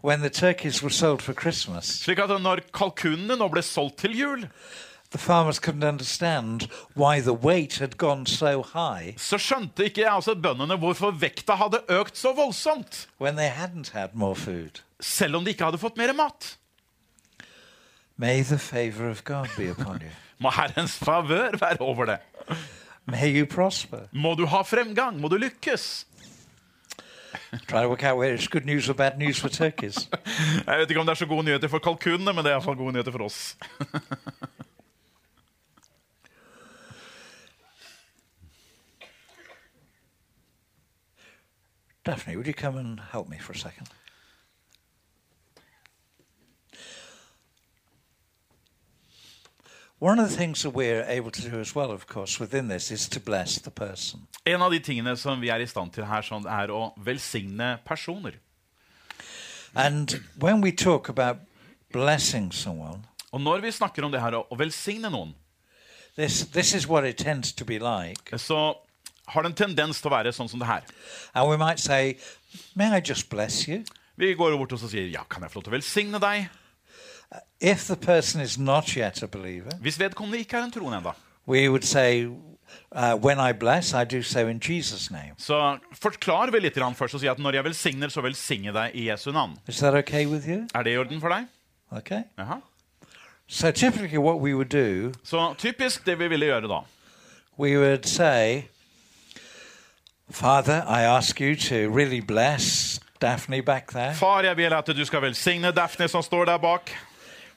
Speaker 2: when the turkeys were sold for Christmas,
Speaker 3: Slik at når kalkunene nå ble solgt til jul,
Speaker 2: the farmers couldn't understand why the weight had gone so high
Speaker 3: så skjønte ikke altså bøndene hvorfor vekta hadde økt så voldsomt.
Speaker 2: when they hadn't had more food.
Speaker 3: Selv om de ikke hadde fått mer mat.
Speaker 2: May the favor of God be upon you.
Speaker 3: Må Herrens favør være over det.
Speaker 2: May you prosper.
Speaker 3: Må du ha fremgang. Må du lykkes.
Speaker 2: Try to work out whether it's good news or bad news for turkeys.
Speaker 3: Jeg vet ikke om det er så gode nyheter for kalkunene, men det er iallfall gode nyheter for oss.
Speaker 2: Daphne, would you come and help me for a second? One of the things that we're able to do as well, of course, within this is to bless the person.
Speaker 3: En av de tingene som vi er i stand til her, sånn, er å velsigne personer.
Speaker 2: And when we talk about blessing someone,
Speaker 3: Og når vi snakker om det her å å velsigne noen,
Speaker 2: this, this is what it tends to be like.
Speaker 3: så har det en tendens til å være sånn som det her.
Speaker 2: And we might say, May I just bless you?
Speaker 3: Vi går bort og så sier ja, kan jeg få lov til å velsigne deg?
Speaker 2: If the person is not yet a believer,
Speaker 3: Hvis vedkommende ikke er en troende ennå,
Speaker 2: we would say, uh, When I bless, I do so in Jesus' name.
Speaker 3: så forklar vi litt grann først og si at når jeg velsigner, så velsigner jeg deg i Jesu navn.
Speaker 2: Is that okay with you?
Speaker 3: Er det i orden for deg?
Speaker 2: Okay.
Speaker 3: Jaha.
Speaker 2: So typically, what we would do,
Speaker 3: Så typisk det vi ville gjøre da.
Speaker 2: we would say, Father, I ask you to really bless Daphne back there.
Speaker 3: Far, jeg vil at du skal velsigne Daphne som står der bak.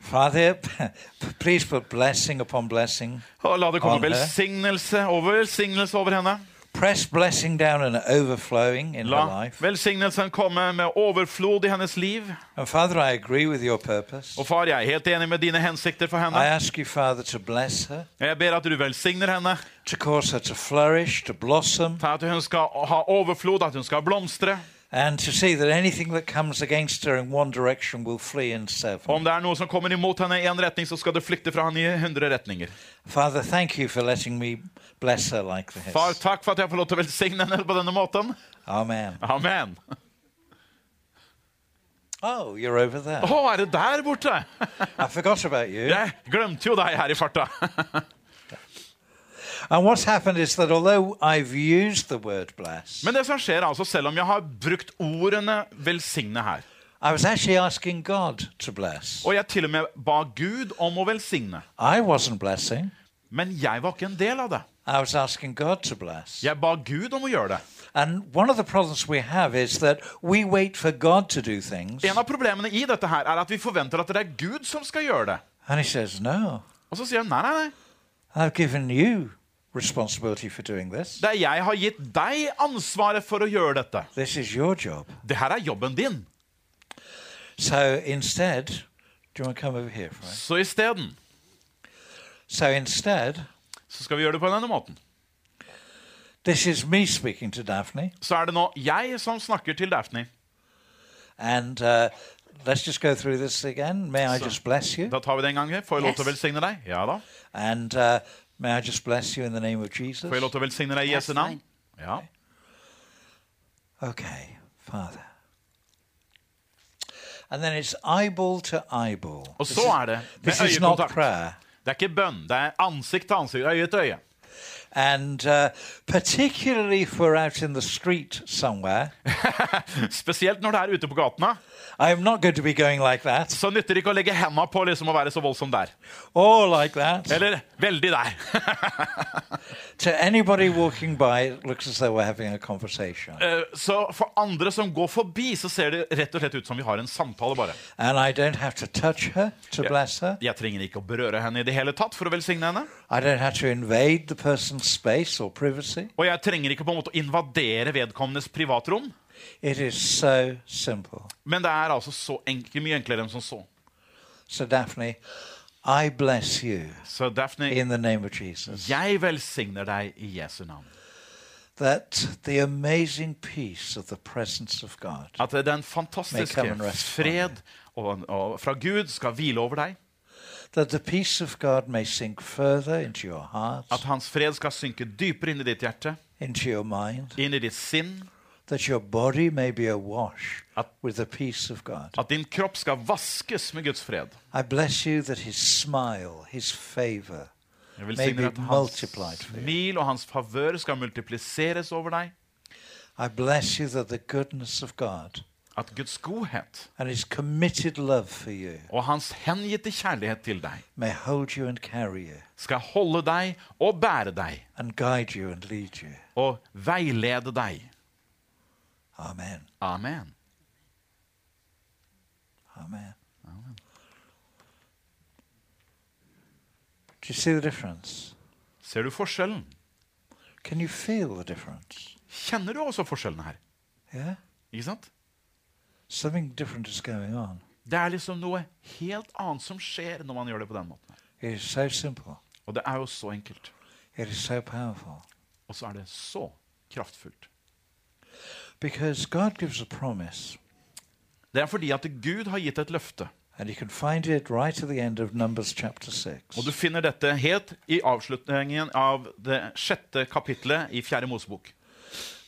Speaker 2: Father, please put blessing upon blessing.
Speaker 3: Og la det komme
Speaker 2: Amen.
Speaker 3: velsignelse over velsignelse over henne.
Speaker 2: Press blessing down and overflowing in her
Speaker 3: La
Speaker 2: life.
Speaker 3: velsignelsen komme med overflod i hennes liv.
Speaker 2: And Father, I agree with your purpose.
Speaker 3: Og far, jeg er helt enig med dine hensikter for
Speaker 2: I
Speaker 3: henne.
Speaker 2: ask you, Father, to bless her,
Speaker 3: Jeg ber at du velsigner henne.
Speaker 2: to cause her to flourish, to blossom,
Speaker 3: At hun skal ha overflod, at hun skal blomstre.
Speaker 2: and to see that anything that comes against her in one direction will flee in seven.
Speaker 3: Og om det er noe som kommer imot henne i én retning, så skal det flykte fra henne i hundre retninger.
Speaker 2: Father, thank you for letting me bless her like
Speaker 3: Far,
Speaker 2: this.
Speaker 3: takk for at jeg får lov til å velsigne henne på denne måten.
Speaker 2: Amen.
Speaker 3: Amen.
Speaker 2: Oh, you're over
Speaker 3: Å,
Speaker 2: there.
Speaker 3: er det der borte?
Speaker 2: I forgot about you.
Speaker 3: Jeg glemte jo deg her i farta.
Speaker 2: And what's happened is that although I've used the word bless,
Speaker 3: Men det som skjer, altså, selv om jeg har brukt ordene 'velsigne' her,
Speaker 2: I was actually asking God to bless.
Speaker 3: og jeg til og med ba Gud om å velsigne,
Speaker 2: I wasn't blessing.
Speaker 3: men jeg var ikke en del av det.
Speaker 2: I was asking God to bless.
Speaker 3: Jeg ba Gud om å gjøre det.
Speaker 2: And one of the problems we have is that we wait for God to do things.
Speaker 3: En av problemene i dette her er at vi forventer at det er Gud som skal gjøre det.
Speaker 2: And he says, No,
Speaker 3: Og så sier han nei, nei, nei.
Speaker 2: I've given you responsibility for doing this.
Speaker 3: Det er jeg har gitt deg ansvaret for å gjøre dette.
Speaker 2: This is your job.
Speaker 3: Det her er jobben din.
Speaker 2: So instead, do you want to come over here, Frank?
Speaker 3: Så isteden
Speaker 2: So instead,
Speaker 3: så skal vi gjøre det på denne måten.
Speaker 2: this is me speaking to Daphne.
Speaker 3: Så er det nå jeg som snakker til Daphne.
Speaker 2: And uh, let's just go through this again. May I just bless you?
Speaker 3: Da tar vi det en gang til. Får jeg lov til å velsigne deg? Ja da.
Speaker 2: And uh, may I just bless you in the name of Jesus?
Speaker 3: Får jeg lov til å velsigne deg i Jesu navn? Ja.
Speaker 2: Okay, Father. And then it's eyeball to eyeball.
Speaker 3: Og
Speaker 2: This
Speaker 3: så
Speaker 2: is-
Speaker 3: er det
Speaker 2: This
Speaker 3: med
Speaker 2: is not
Speaker 3: øyekontakt.
Speaker 2: prayer.
Speaker 3: Det er ikke bønn. Det er ansikt til ansikt, øye til øye.
Speaker 2: And uh, particularly if we're out in the street somewhere,
Speaker 3: Spesielt når det er ute på gatene.
Speaker 2: I'm not going to be going like that
Speaker 3: Så nytter det ikke å legge henda på liksom å være så voldsom der.
Speaker 2: or like that.
Speaker 3: Eller veldig der.
Speaker 2: To anybody walking by, it looks as though we're having a conversation.
Speaker 3: Eh, Så for andre som går forbi, så ser det rett og slett ut som vi har en samtale, bare.
Speaker 2: And I don't have to touch her to bless her.
Speaker 3: Jeg trenger ikke å berøre henne i det hele tatt for å velsigne henne.
Speaker 2: I don't have to invade the person's space or privacy.
Speaker 3: Og jeg trenger ikke på en måte å invadere vedkommendes privatrom.
Speaker 2: It is so simple.
Speaker 3: Men det er altså så enk- mye enklere enn som så.
Speaker 2: So, Daphne, I bless you
Speaker 3: Så Daphne,
Speaker 2: in the name of Jesus.
Speaker 3: jeg velsigner deg i Jesu navn.
Speaker 2: That the amazing peace of the presence of God
Speaker 3: At
Speaker 2: May
Speaker 3: den
Speaker 2: come and
Speaker 3: fantastiske
Speaker 2: rest upon
Speaker 3: fred og, og fra Gud skal hvile over deg.
Speaker 2: that the peace of God may sink further into your heart,
Speaker 3: At hans fred skal synke dypere inn i ditt hjerte,
Speaker 2: into your mind,
Speaker 3: inn i ditt sinn.
Speaker 2: that your body may be awash
Speaker 3: At-
Speaker 2: with the peace of God.
Speaker 3: At din kropp skal vaskes med Guds fred.
Speaker 2: I bless you that his smile, his favor,
Speaker 3: Jeg
Speaker 2: may
Speaker 3: velsigner
Speaker 2: be
Speaker 3: at hans
Speaker 2: multiplied for you.
Speaker 3: smil og hans favør skal multipliseres over deg.
Speaker 2: I bless you that the goodness of God
Speaker 3: At Guds godhet
Speaker 2: and his committed love for you
Speaker 3: og hans hengitte kjærlighet til deg
Speaker 2: may hold you and carry you
Speaker 3: skal holde deg og bære deg
Speaker 2: and guide you and lead you.
Speaker 3: og veilede deg.
Speaker 2: Amen.
Speaker 3: Amen.
Speaker 2: Amen. Do you see the difference?
Speaker 3: Ser du forskjellen?
Speaker 2: Can you feel the difference?
Speaker 3: Kjenner du også forskjellen her?
Speaker 2: Yeah?
Speaker 3: Ikke sant?
Speaker 2: Something different is going on.
Speaker 3: Det er liksom noe helt annet som skjer når man gjør det på den måten.
Speaker 2: It is so simple.
Speaker 3: Og det er jo så enkelt.
Speaker 2: It is so powerful.
Speaker 3: Og så er det så kraftfullt.
Speaker 2: Because God gives a promise,
Speaker 3: Det er fordi at Gud har gitt et løfte.
Speaker 2: and you can find it right at the end of Numbers chapter
Speaker 3: Og du
Speaker 2: 6.
Speaker 3: finner dette helt i avslutningen av det sjette kapitlet i Fjerde Mosebok.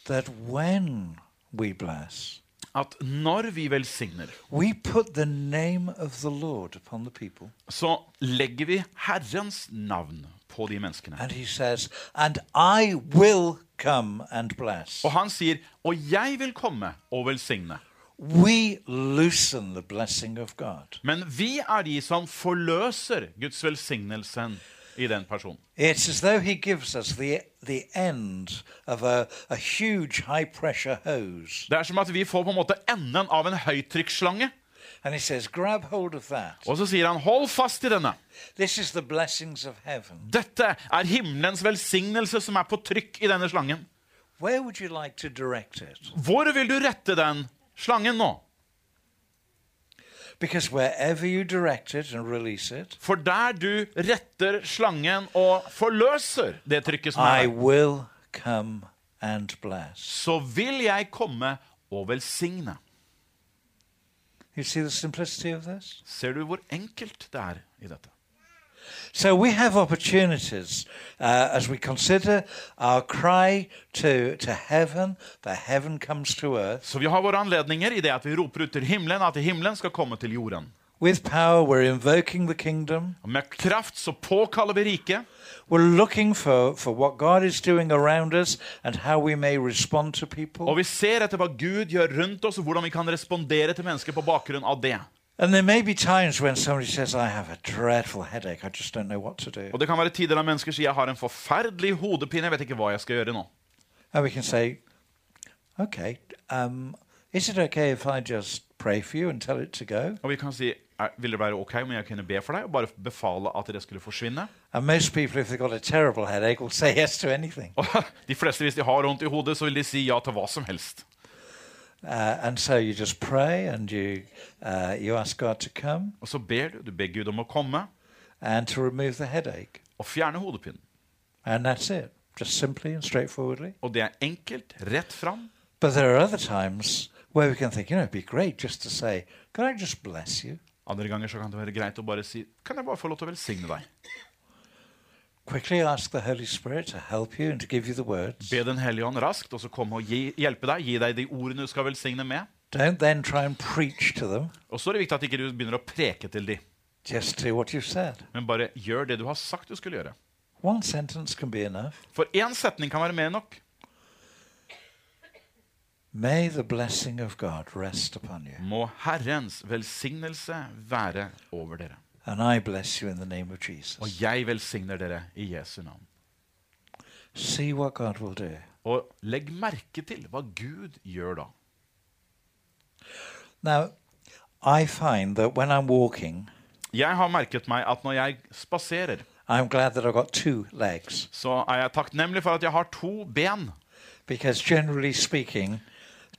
Speaker 2: That when we bless,
Speaker 3: At når vi velsigner,
Speaker 2: we put the name of the Lord upon the people.
Speaker 3: så legger vi Herrens navn på de menneskene.
Speaker 2: And he says, And I will come and bless.
Speaker 3: Og han sier, 'Og jeg vil komme og velsigne'.
Speaker 2: We loosen the blessing of God.
Speaker 3: Men vi er de som forløser Guds velsignelsen i den personen.
Speaker 2: It's as though he gives us the, the end of a, a huge high pressure hose.
Speaker 3: Det er som at vi får på en måte enden av en høytrykksslange.
Speaker 2: And he says, grab hold of that.
Speaker 3: Og så sier han, hold fast i denne.
Speaker 2: This is the blessings of heaven.
Speaker 3: Dette er himmelens velsignelse som er på trykk i denne slangen.
Speaker 2: Where would you like to direct it?
Speaker 3: Hvor vil du rette den slangen nå?
Speaker 2: Because wherever you direct it and release it,
Speaker 3: For der du retter slangen og forløser det trykket som
Speaker 2: I
Speaker 3: er der,
Speaker 2: will come and bless.
Speaker 3: så vil jeg komme og velsigne.
Speaker 2: You see the simplicity of this?
Speaker 3: Ser du hvor enkelt det er i dette?
Speaker 2: So we have opportunities uh, as we consider our cry to, to heaven, that heaven comes to earth.
Speaker 3: Så vi har våre anledninger i det at vi roper ut til himmelen at himmelen skal komme til jorden.
Speaker 2: With power, we're invoking the kingdom.
Speaker 3: Og med kraft så påkaller vi riket.
Speaker 2: We're looking for, for what God is doing around us and how we may respond to
Speaker 3: Og
Speaker 2: people.
Speaker 3: vi ser etter hva Gud gjør rundt oss, og hvordan vi kan respondere til mennesker på bakgrunn av det.
Speaker 2: And there may be times when somebody says, I have a dreadful headache, I just don't know what to do.
Speaker 3: Og det kan være tider der mennesker sier jeg har en forferdelig hodepine, jeg vet ikke hva jeg skal gjøre nå.
Speaker 2: And we can say, okay, um, is it okay if I just pray for you and tell it to go?
Speaker 3: Og vi kan si "Er- vil det være ok om jeg kunne be for deg og bare befale at det skulle forsvinne?
Speaker 2: And most people, if they've got a terrible headache, will say yes to anything.
Speaker 3: Og de fleste, hvis de har vondt i hodet, så vil de si ja til hva som helst.
Speaker 2: Uh, and so you just pray and you, uh, you ask God to come
Speaker 3: Og så ber du. Du ber Gud om å komme
Speaker 2: and to remove the headache.
Speaker 3: og fjerne hodepinen.
Speaker 2: And that's it, just simply and straightforwardly.
Speaker 3: Og det er enkelt, rett fram.
Speaker 2: But there are other times where we can think, you know, it'd be great just to say, could I just bless you
Speaker 3: Andre ganger så kan det være greit å bare si Kan jeg bare få lov til å velsigne deg?
Speaker 2: quickly? Ask the Holy Spirit to help you and to give you the words.
Speaker 3: Be Den hellige ånd raskt, og så komme og gi, hjelpe deg. Gi deg de ordene du skal velsigne med.
Speaker 2: Don't then try and preach to them.
Speaker 3: Og så er det viktig at ikke du begynner å preke til de,
Speaker 2: Just do what you've said.
Speaker 3: men bare gjør det du har sagt du skulle gjøre.
Speaker 2: One sentence can be enough.
Speaker 3: For én setning kan være mer enn nok.
Speaker 2: May the blessing of God rest upon you.
Speaker 3: Må Herrens velsignelse være over dere.
Speaker 2: And I bless you in the name of
Speaker 3: Og
Speaker 2: Jesus.
Speaker 3: jeg velsigner dere i Jesu navn.
Speaker 2: See what God will do.
Speaker 3: Og legg merke til hva Gud gjør da.
Speaker 2: Now, I find that when I'm walking,
Speaker 3: Jeg har merket meg at når jeg spaserer,
Speaker 2: I'm glad that I've got two legs
Speaker 3: så er jeg takknemlig for at jeg har to ben.
Speaker 2: because, generally speaking,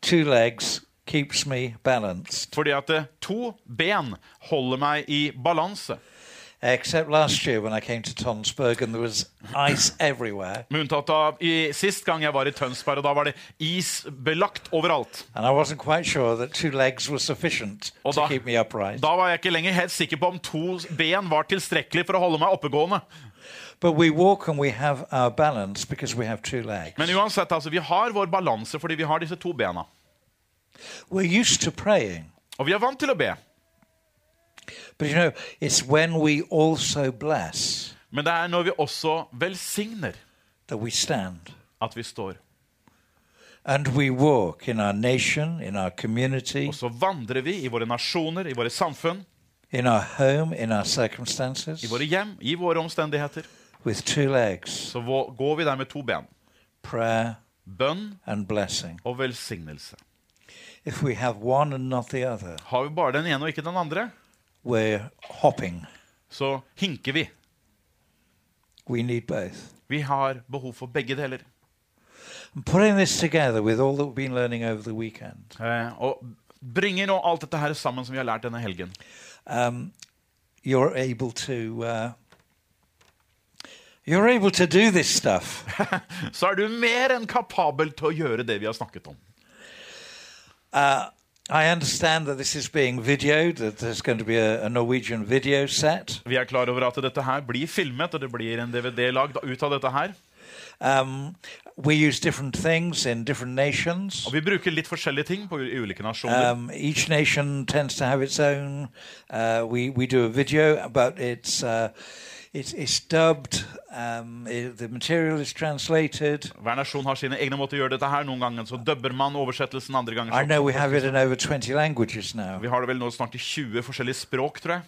Speaker 2: two legs keeps me balanced.
Speaker 3: Fordi at eh, to ben holder meg i balanse.
Speaker 2: Except last year when I came to Tonsberg and there was ice everywhere
Speaker 3: Med unntatt av i, sist gang jeg var i Tønsberg, og da var det isbelagt overalt.
Speaker 2: and I wasn't quite sure that two legs were sufficient
Speaker 3: Og
Speaker 2: to
Speaker 3: da,
Speaker 2: keep me upright.
Speaker 3: da var jeg ikke lenger helt sikker på om to ben var tilstrekkelig for å holde meg oppegående.
Speaker 2: But we walk and we have our balance because we have two legs.
Speaker 3: Men uansett, altså, vi har vår balanse fordi vi har disse to bena.
Speaker 2: We're used to praying.
Speaker 3: Og vi er vant til å be.
Speaker 2: But you know, it's when we also bless
Speaker 3: Men det er når vi også velsigner
Speaker 2: that we stand
Speaker 3: at vi står.
Speaker 2: and we walk in our nation, in our community,
Speaker 3: Og så vandrer vi i våre nasjoner, i våre samfunn,
Speaker 2: in our home, in our
Speaker 3: i
Speaker 2: circumstances
Speaker 3: våre hjem, i våre omstendigheter.
Speaker 2: with two legs
Speaker 3: Så vå- går vi der med to ben.
Speaker 2: prayer
Speaker 3: Bønn
Speaker 2: and blessing.
Speaker 3: og velsignelse.
Speaker 2: If we have one and not the other,
Speaker 3: Har vi bare den ene og ikke den andre,
Speaker 2: we're hopping.
Speaker 3: så hinker vi.
Speaker 2: We need both.
Speaker 3: Vi har behov for begge deler.
Speaker 2: And putting this together with all that we've been learning over the weekend,
Speaker 3: Eh, og bringer nå alt dette her sammen som vi har lært denne helgen.
Speaker 2: um, you're able to. Uh, you're able to do this stuff.
Speaker 3: Så er du mer enn kapabel til å gjøre det vi har snakket om.
Speaker 2: Uh, I understand that this is being videoed, that there's going to be a, a Norwegian video set.
Speaker 3: Vi er klar over at dette her blir filmet, og det blir en DVD lagd ut av dette her.
Speaker 2: Um, we use different things in different nations.
Speaker 3: Og vi bruker litt forskjellige ting på u- i ulike nasjoner.
Speaker 2: Um, each nation tends to have its own. Uh, we, we do a video, but it's, uh, it's, it's dubbed, um, i- the material is translated.
Speaker 3: Hver nasjon har sine egne måter å gjøre dette her. Noen ganger så dubber man oversettelsen, andre ganger
Speaker 2: I
Speaker 3: så
Speaker 2: know we have it in over 20 languages now.
Speaker 3: Vi har det vel nå snart i 20 forskjellige språk, tror jeg.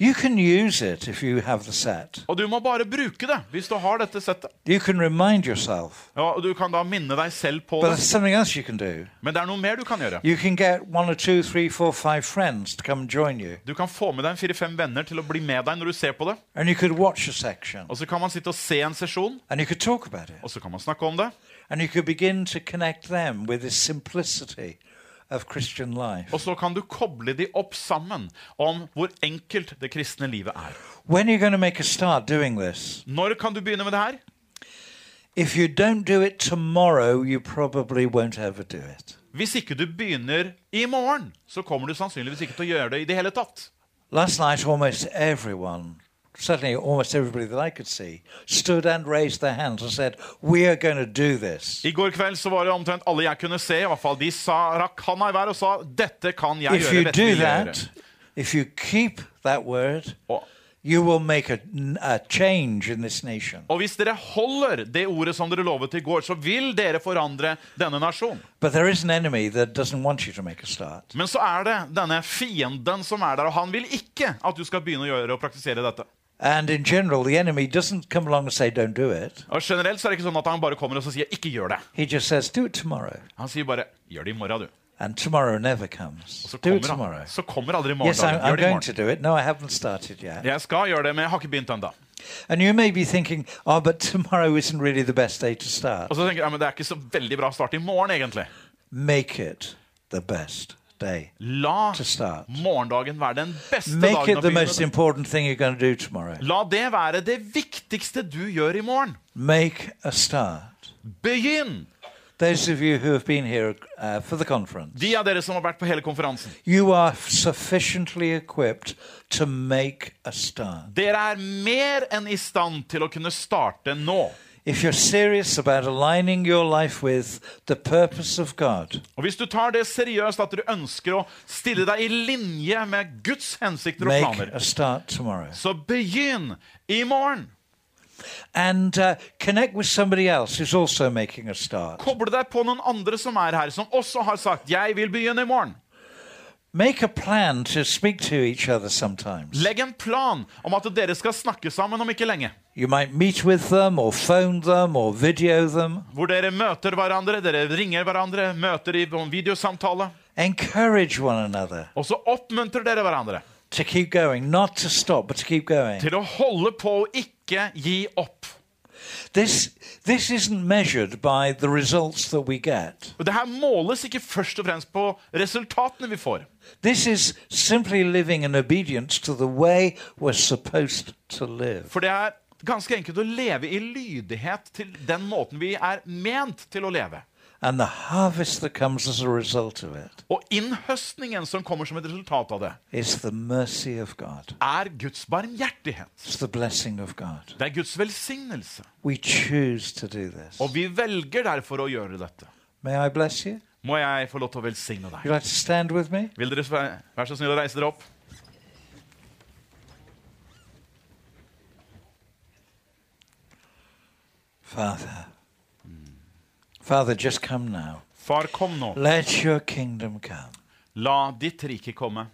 Speaker 2: You can use it if you have the set.
Speaker 3: Og du må bare bruke det hvis du har dette settet.
Speaker 2: You can remind yourself.
Speaker 3: Ja, og du kan da minne deg selv på
Speaker 2: But
Speaker 3: det.
Speaker 2: there's something else you can do.
Speaker 3: Men det er noe mer du kan gjøre.
Speaker 2: You can get one or two, three, four, five friends to come join you.
Speaker 3: Du kan få med deg en fire-fem venner til å bli med deg når du ser på det.
Speaker 2: And you could watch a section.
Speaker 3: Og så kan man sitte og se en sesjon,
Speaker 2: And you could talk about it.
Speaker 3: og så kan man snakke om det.
Speaker 2: And you could begin to connect them with the simplicity of Christian life.
Speaker 3: Og så kan du koble de opp sammen om hvor enkelt det kristne livet er.
Speaker 2: When are you going to make a start doing this?
Speaker 3: Når kan du begynne med det her?
Speaker 2: If you don't do it tomorrow, you probably won't ever do it.
Speaker 3: Hvis ikke du begynner i morgen, så kommer du sannsynligvis ikke til å gjøre det i det hele tatt.
Speaker 2: Last night, almost everyone, certainly almost everybody that I could see, stood and raised their hands and said, We are going to do this.
Speaker 3: I går kveld så var det omtrent alle jeg kunne se, i hvert fall de sa, rakk handa i været og sa 'Dette kan jeg
Speaker 2: If
Speaker 3: gjøre'.
Speaker 2: you
Speaker 3: Dette
Speaker 2: do
Speaker 3: vil jeg gjøre.
Speaker 2: that, if you keep that word,
Speaker 3: Og,
Speaker 2: you will make a, a change in this nation.
Speaker 3: og hvis dere holder det ordet som dere lovet i går, så vil dere forandre denne nasjonen.
Speaker 2: But there is an enemy that doesn't want you to make a start.
Speaker 3: Men så er det denne fienden som er der, og han vil ikke at du skal begynne å gjøre og praktisere dette.
Speaker 2: And in general, the enemy doesn't come along and say, Don't do it.
Speaker 3: Og Generelt så er det ikke sånn at han bare kommer og så sier 'ikke gjør det'.
Speaker 2: He just says, Do it tomorrow.
Speaker 3: Han sier bare 'gjør det i morgen, du'.
Speaker 2: And tomorrow never comes.
Speaker 3: Så
Speaker 2: Do it
Speaker 3: kommer,
Speaker 2: tomorrow.
Speaker 3: han, så kommer aldri morgen.
Speaker 2: Yes, I'm,
Speaker 3: gjør
Speaker 2: I'm
Speaker 3: det i
Speaker 2: going to
Speaker 3: morgen.
Speaker 2: do it. No, I haven't started yet.
Speaker 3: Jeg skal gjøre det, men jeg har ikke begynt ennå.
Speaker 2: And you may be thinking, oh, but tomorrow isn't really the best day to start.
Speaker 3: Og så tenker jeg, ja, men Det er ikke så veldig bra start i morgen, egentlig.
Speaker 2: Make it the best day.
Speaker 3: La
Speaker 2: To start.
Speaker 3: morgendagen være den beste
Speaker 2: Make
Speaker 3: dagen.
Speaker 2: it
Speaker 3: å
Speaker 2: the
Speaker 3: begynne
Speaker 2: most
Speaker 3: med.
Speaker 2: important thing you're going to do tomorrow.
Speaker 3: La det være det viktigste du gjør i morgen.
Speaker 2: Make a start.
Speaker 3: Begynn!
Speaker 2: Those of you who have been here uh, for the conference,
Speaker 3: De av dere som har vært på hele konferansen,
Speaker 2: you are sufficiently equipped to make a start.
Speaker 3: dere er mer enn i stand til å kunne starte nå.
Speaker 2: If you're serious about aligning your life with the purpose of God,
Speaker 3: Og Hvis du tar det seriøst at du ønsker å stille deg i linje med Guds hensikter og
Speaker 2: make
Speaker 3: planer,
Speaker 2: a start tomorrow.
Speaker 3: så begynn i morgen.
Speaker 2: And uh, connect with somebody else who's also making a start.
Speaker 3: Koble deg på noen andre som er her, som også har sagt 'jeg vil begynne i morgen'.
Speaker 2: Make a plan to speak to each other sometimes.
Speaker 3: Legg en plan om at dere skal snakke sammen om ikke lenge.
Speaker 2: You might meet with them or phone them or video them.
Speaker 3: Hvor dere møter hverandre, dere ringer hverandre, møter i en videosamtale.
Speaker 2: Encourage one another
Speaker 3: Og så oppmuntrer dere hverandre
Speaker 2: to keep going, not to stop, but to keep going.
Speaker 3: til å holde på og ikke gi opp.
Speaker 2: This, this isn't measured by the results that we get.
Speaker 3: Og Det her måles ikke først og fremst på resultatene vi får.
Speaker 2: This is simply living in obedience to the way we're supposed to live.
Speaker 3: For det er ganske enkelt å leve i lydighet til den måten vi er ment til å leve.
Speaker 2: And the harvest that comes as a result of it
Speaker 3: Og innhøstningen som kommer som et resultat av det,
Speaker 2: is the mercy of God,
Speaker 3: er Guds barmhjertighet.
Speaker 2: it's the blessing of God.
Speaker 3: Det er Guds velsignelse.
Speaker 2: We choose to do this.
Speaker 3: Og vi velger derfor å gjøre dette.
Speaker 2: May I bless you?
Speaker 3: Må jeg få lov til å velsigne deg?
Speaker 2: You'd like to stand with me?
Speaker 3: Vil dere være vær så snill å reise dere opp?
Speaker 2: Father. Father, just come now.
Speaker 3: Far, kom nå.
Speaker 2: Let your kingdom come.
Speaker 3: La ditt rike komme.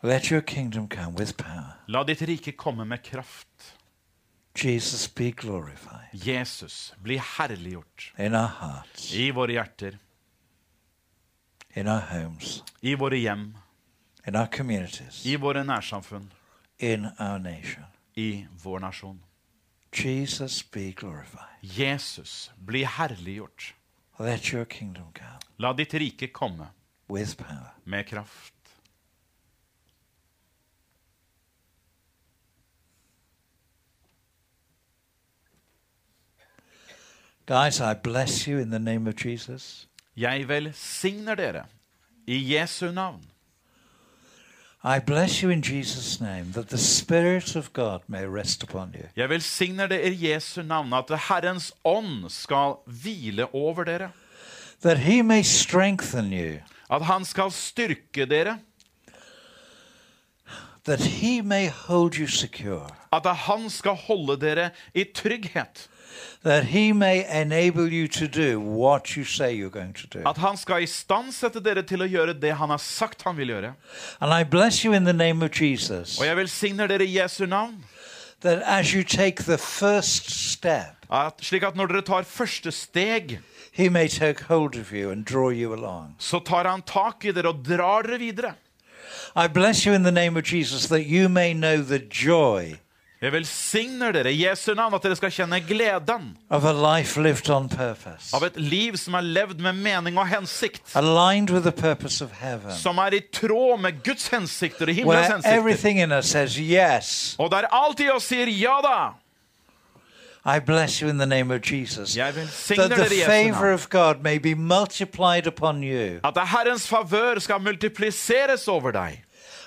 Speaker 2: Let your kingdom come with power.
Speaker 3: La ditt rike komme med kraft.
Speaker 2: Jesus, be glorified
Speaker 3: Jesus, bli herliggjort
Speaker 2: in our hearts,
Speaker 3: i våre hjerter,
Speaker 2: in our homes,
Speaker 3: i våre hjem,
Speaker 2: in our communities,
Speaker 3: i våre nærsamfunn,
Speaker 2: in our nation.
Speaker 3: i vår nasjon.
Speaker 2: Jesus, be glorified.
Speaker 3: Jesus, bli herliggjort.
Speaker 2: Let your kingdom come
Speaker 3: La ditt rike komme
Speaker 2: with power.
Speaker 3: med kraft.
Speaker 2: Guys, I bless you in the name of Jesus.
Speaker 3: Jeg velsigner dere i Jesu navn.
Speaker 2: I bless you in Jesus' name that the Spirit of God may rest upon you.
Speaker 3: Jeg velsigner dere i Jesu navn, at Herrens ånd skal hvile over dere.
Speaker 2: that he may strengthen you
Speaker 3: At han skal styrke dere
Speaker 2: that he may hold you secure,
Speaker 3: At han skal holde dere i trygghet.
Speaker 2: that he may enable you to do what you say you're going to do.
Speaker 3: At han skal istandsette dere til å gjøre det han har sagt han vil gjøre.
Speaker 2: And I bless you in the name of Jesus
Speaker 3: Og jeg velsigner dere i Jesu navn,
Speaker 2: that as you take the first step,
Speaker 3: at, slik at når dere tar første steg,
Speaker 2: he may take hold of you and draw you along.
Speaker 3: så tar han tak i dere og drar dere videre.
Speaker 2: I bless you in the name of Jesus that you may know the joy
Speaker 3: Jeg velsigner dere i Jesu navn, at dere skal kjenne gleden
Speaker 2: of a life lived on purpose,
Speaker 3: av et liv som er levd med mening og hensikt.
Speaker 2: aligned with the purpose of heaven,
Speaker 3: Som er i tråd med Guds hensikter og himmelens
Speaker 2: where
Speaker 3: hensikter.
Speaker 2: everything in us says, Yes,
Speaker 3: Og der alt i oss sier ja da.
Speaker 2: I bless you in the name of Jesus.
Speaker 3: Jeg
Speaker 2: That
Speaker 3: velsigner
Speaker 2: the
Speaker 3: dere i Jesu
Speaker 2: favor
Speaker 3: navn.
Speaker 2: of God may be multiplied upon you.
Speaker 3: At det Herrens favør skal multipliseres over deg.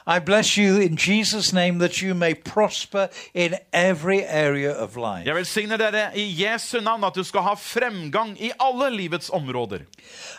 Speaker 2: I bless you in Jesus' name that you may prosper in every area of life.
Speaker 3: Jeg velsigner dere i Jesu navn at du skal ha fremgang i alle livets områder.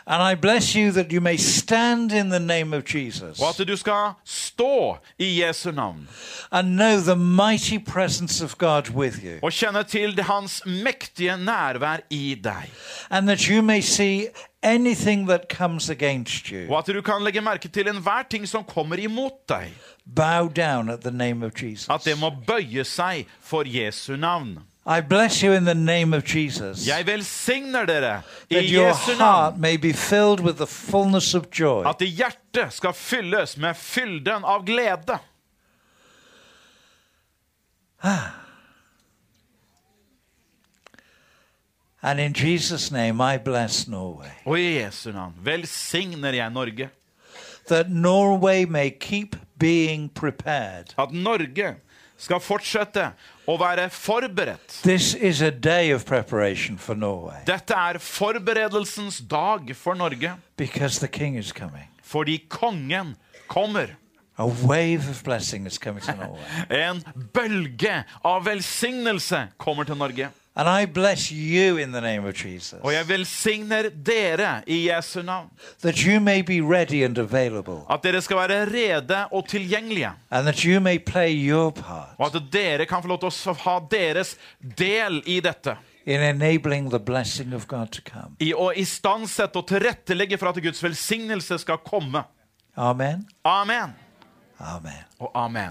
Speaker 2: And I bless you that you may stand in the name of Jesus
Speaker 3: Og at du skal stå i Jesu navn
Speaker 2: and know the mighty presence of God with you.
Speaker 3: og kjenne til hans mektige nærvær i deg.
Speaker 2: And that you may see anything that comes against
Speaker 3: Og
Speaker 2: you
Speaker 3: at du kan legge merke til enhver ting som kommer imot deg.
Speaker 2: bow down at the name of Jesus.
Speaker 3: At det må bøye seg for Jesu navn.
Speaker 2: I bless you in the name of Jesus.
Speaker 3: Jeg velsigner dere i
Speaker 2: That your
Speaker 3: Jesu navn.
Speaker 2: heart may be filled with the fullness of joy.
Speaker 3: At hjertet skal fylles med fylden av glede.
Speaker 2: And in Jesus' name, I bless Norway.
Speaker 3: Og i Jesu navn velsigner jeg Norge.
Speaker 2: That Norway may keep being prepared.
Speaker 3: At Norge skal fortsette å være forberedt.
Speaker 2: This is a day of preparation for Norway
Speaker 3: Dette er forberedelsens dag for Norge,
Speaker 2: because the King is coming.
Speaker 3: fordi kongen kommer.
Speaker 2: A wave of blessing is coming to Norway.
Speaker 3: En bølge av velsignelse kommer til Norge.
Speaker 2: And I bless you in the name of Jesus
Speaker 3: Og jeg velsigner dere i Jesu navn.
Speaker 2: that you may be ready and available
Speaker 3: At dere skal være rede og tilgjengelige.
Speaker 2: and that you may play your part
Speaker 3: Og at dere kan få lov til å ha deres del i dette.
Speaker 2: in enabling the blessing of God to come.
Speaker 3: I å istandsette og tilrettelegge for at Guds velsignelse skal komme.
Speaker 2: Amen.
Speaker 3: Amen
Speaker 2: Amen.
Speaker 3: og amen.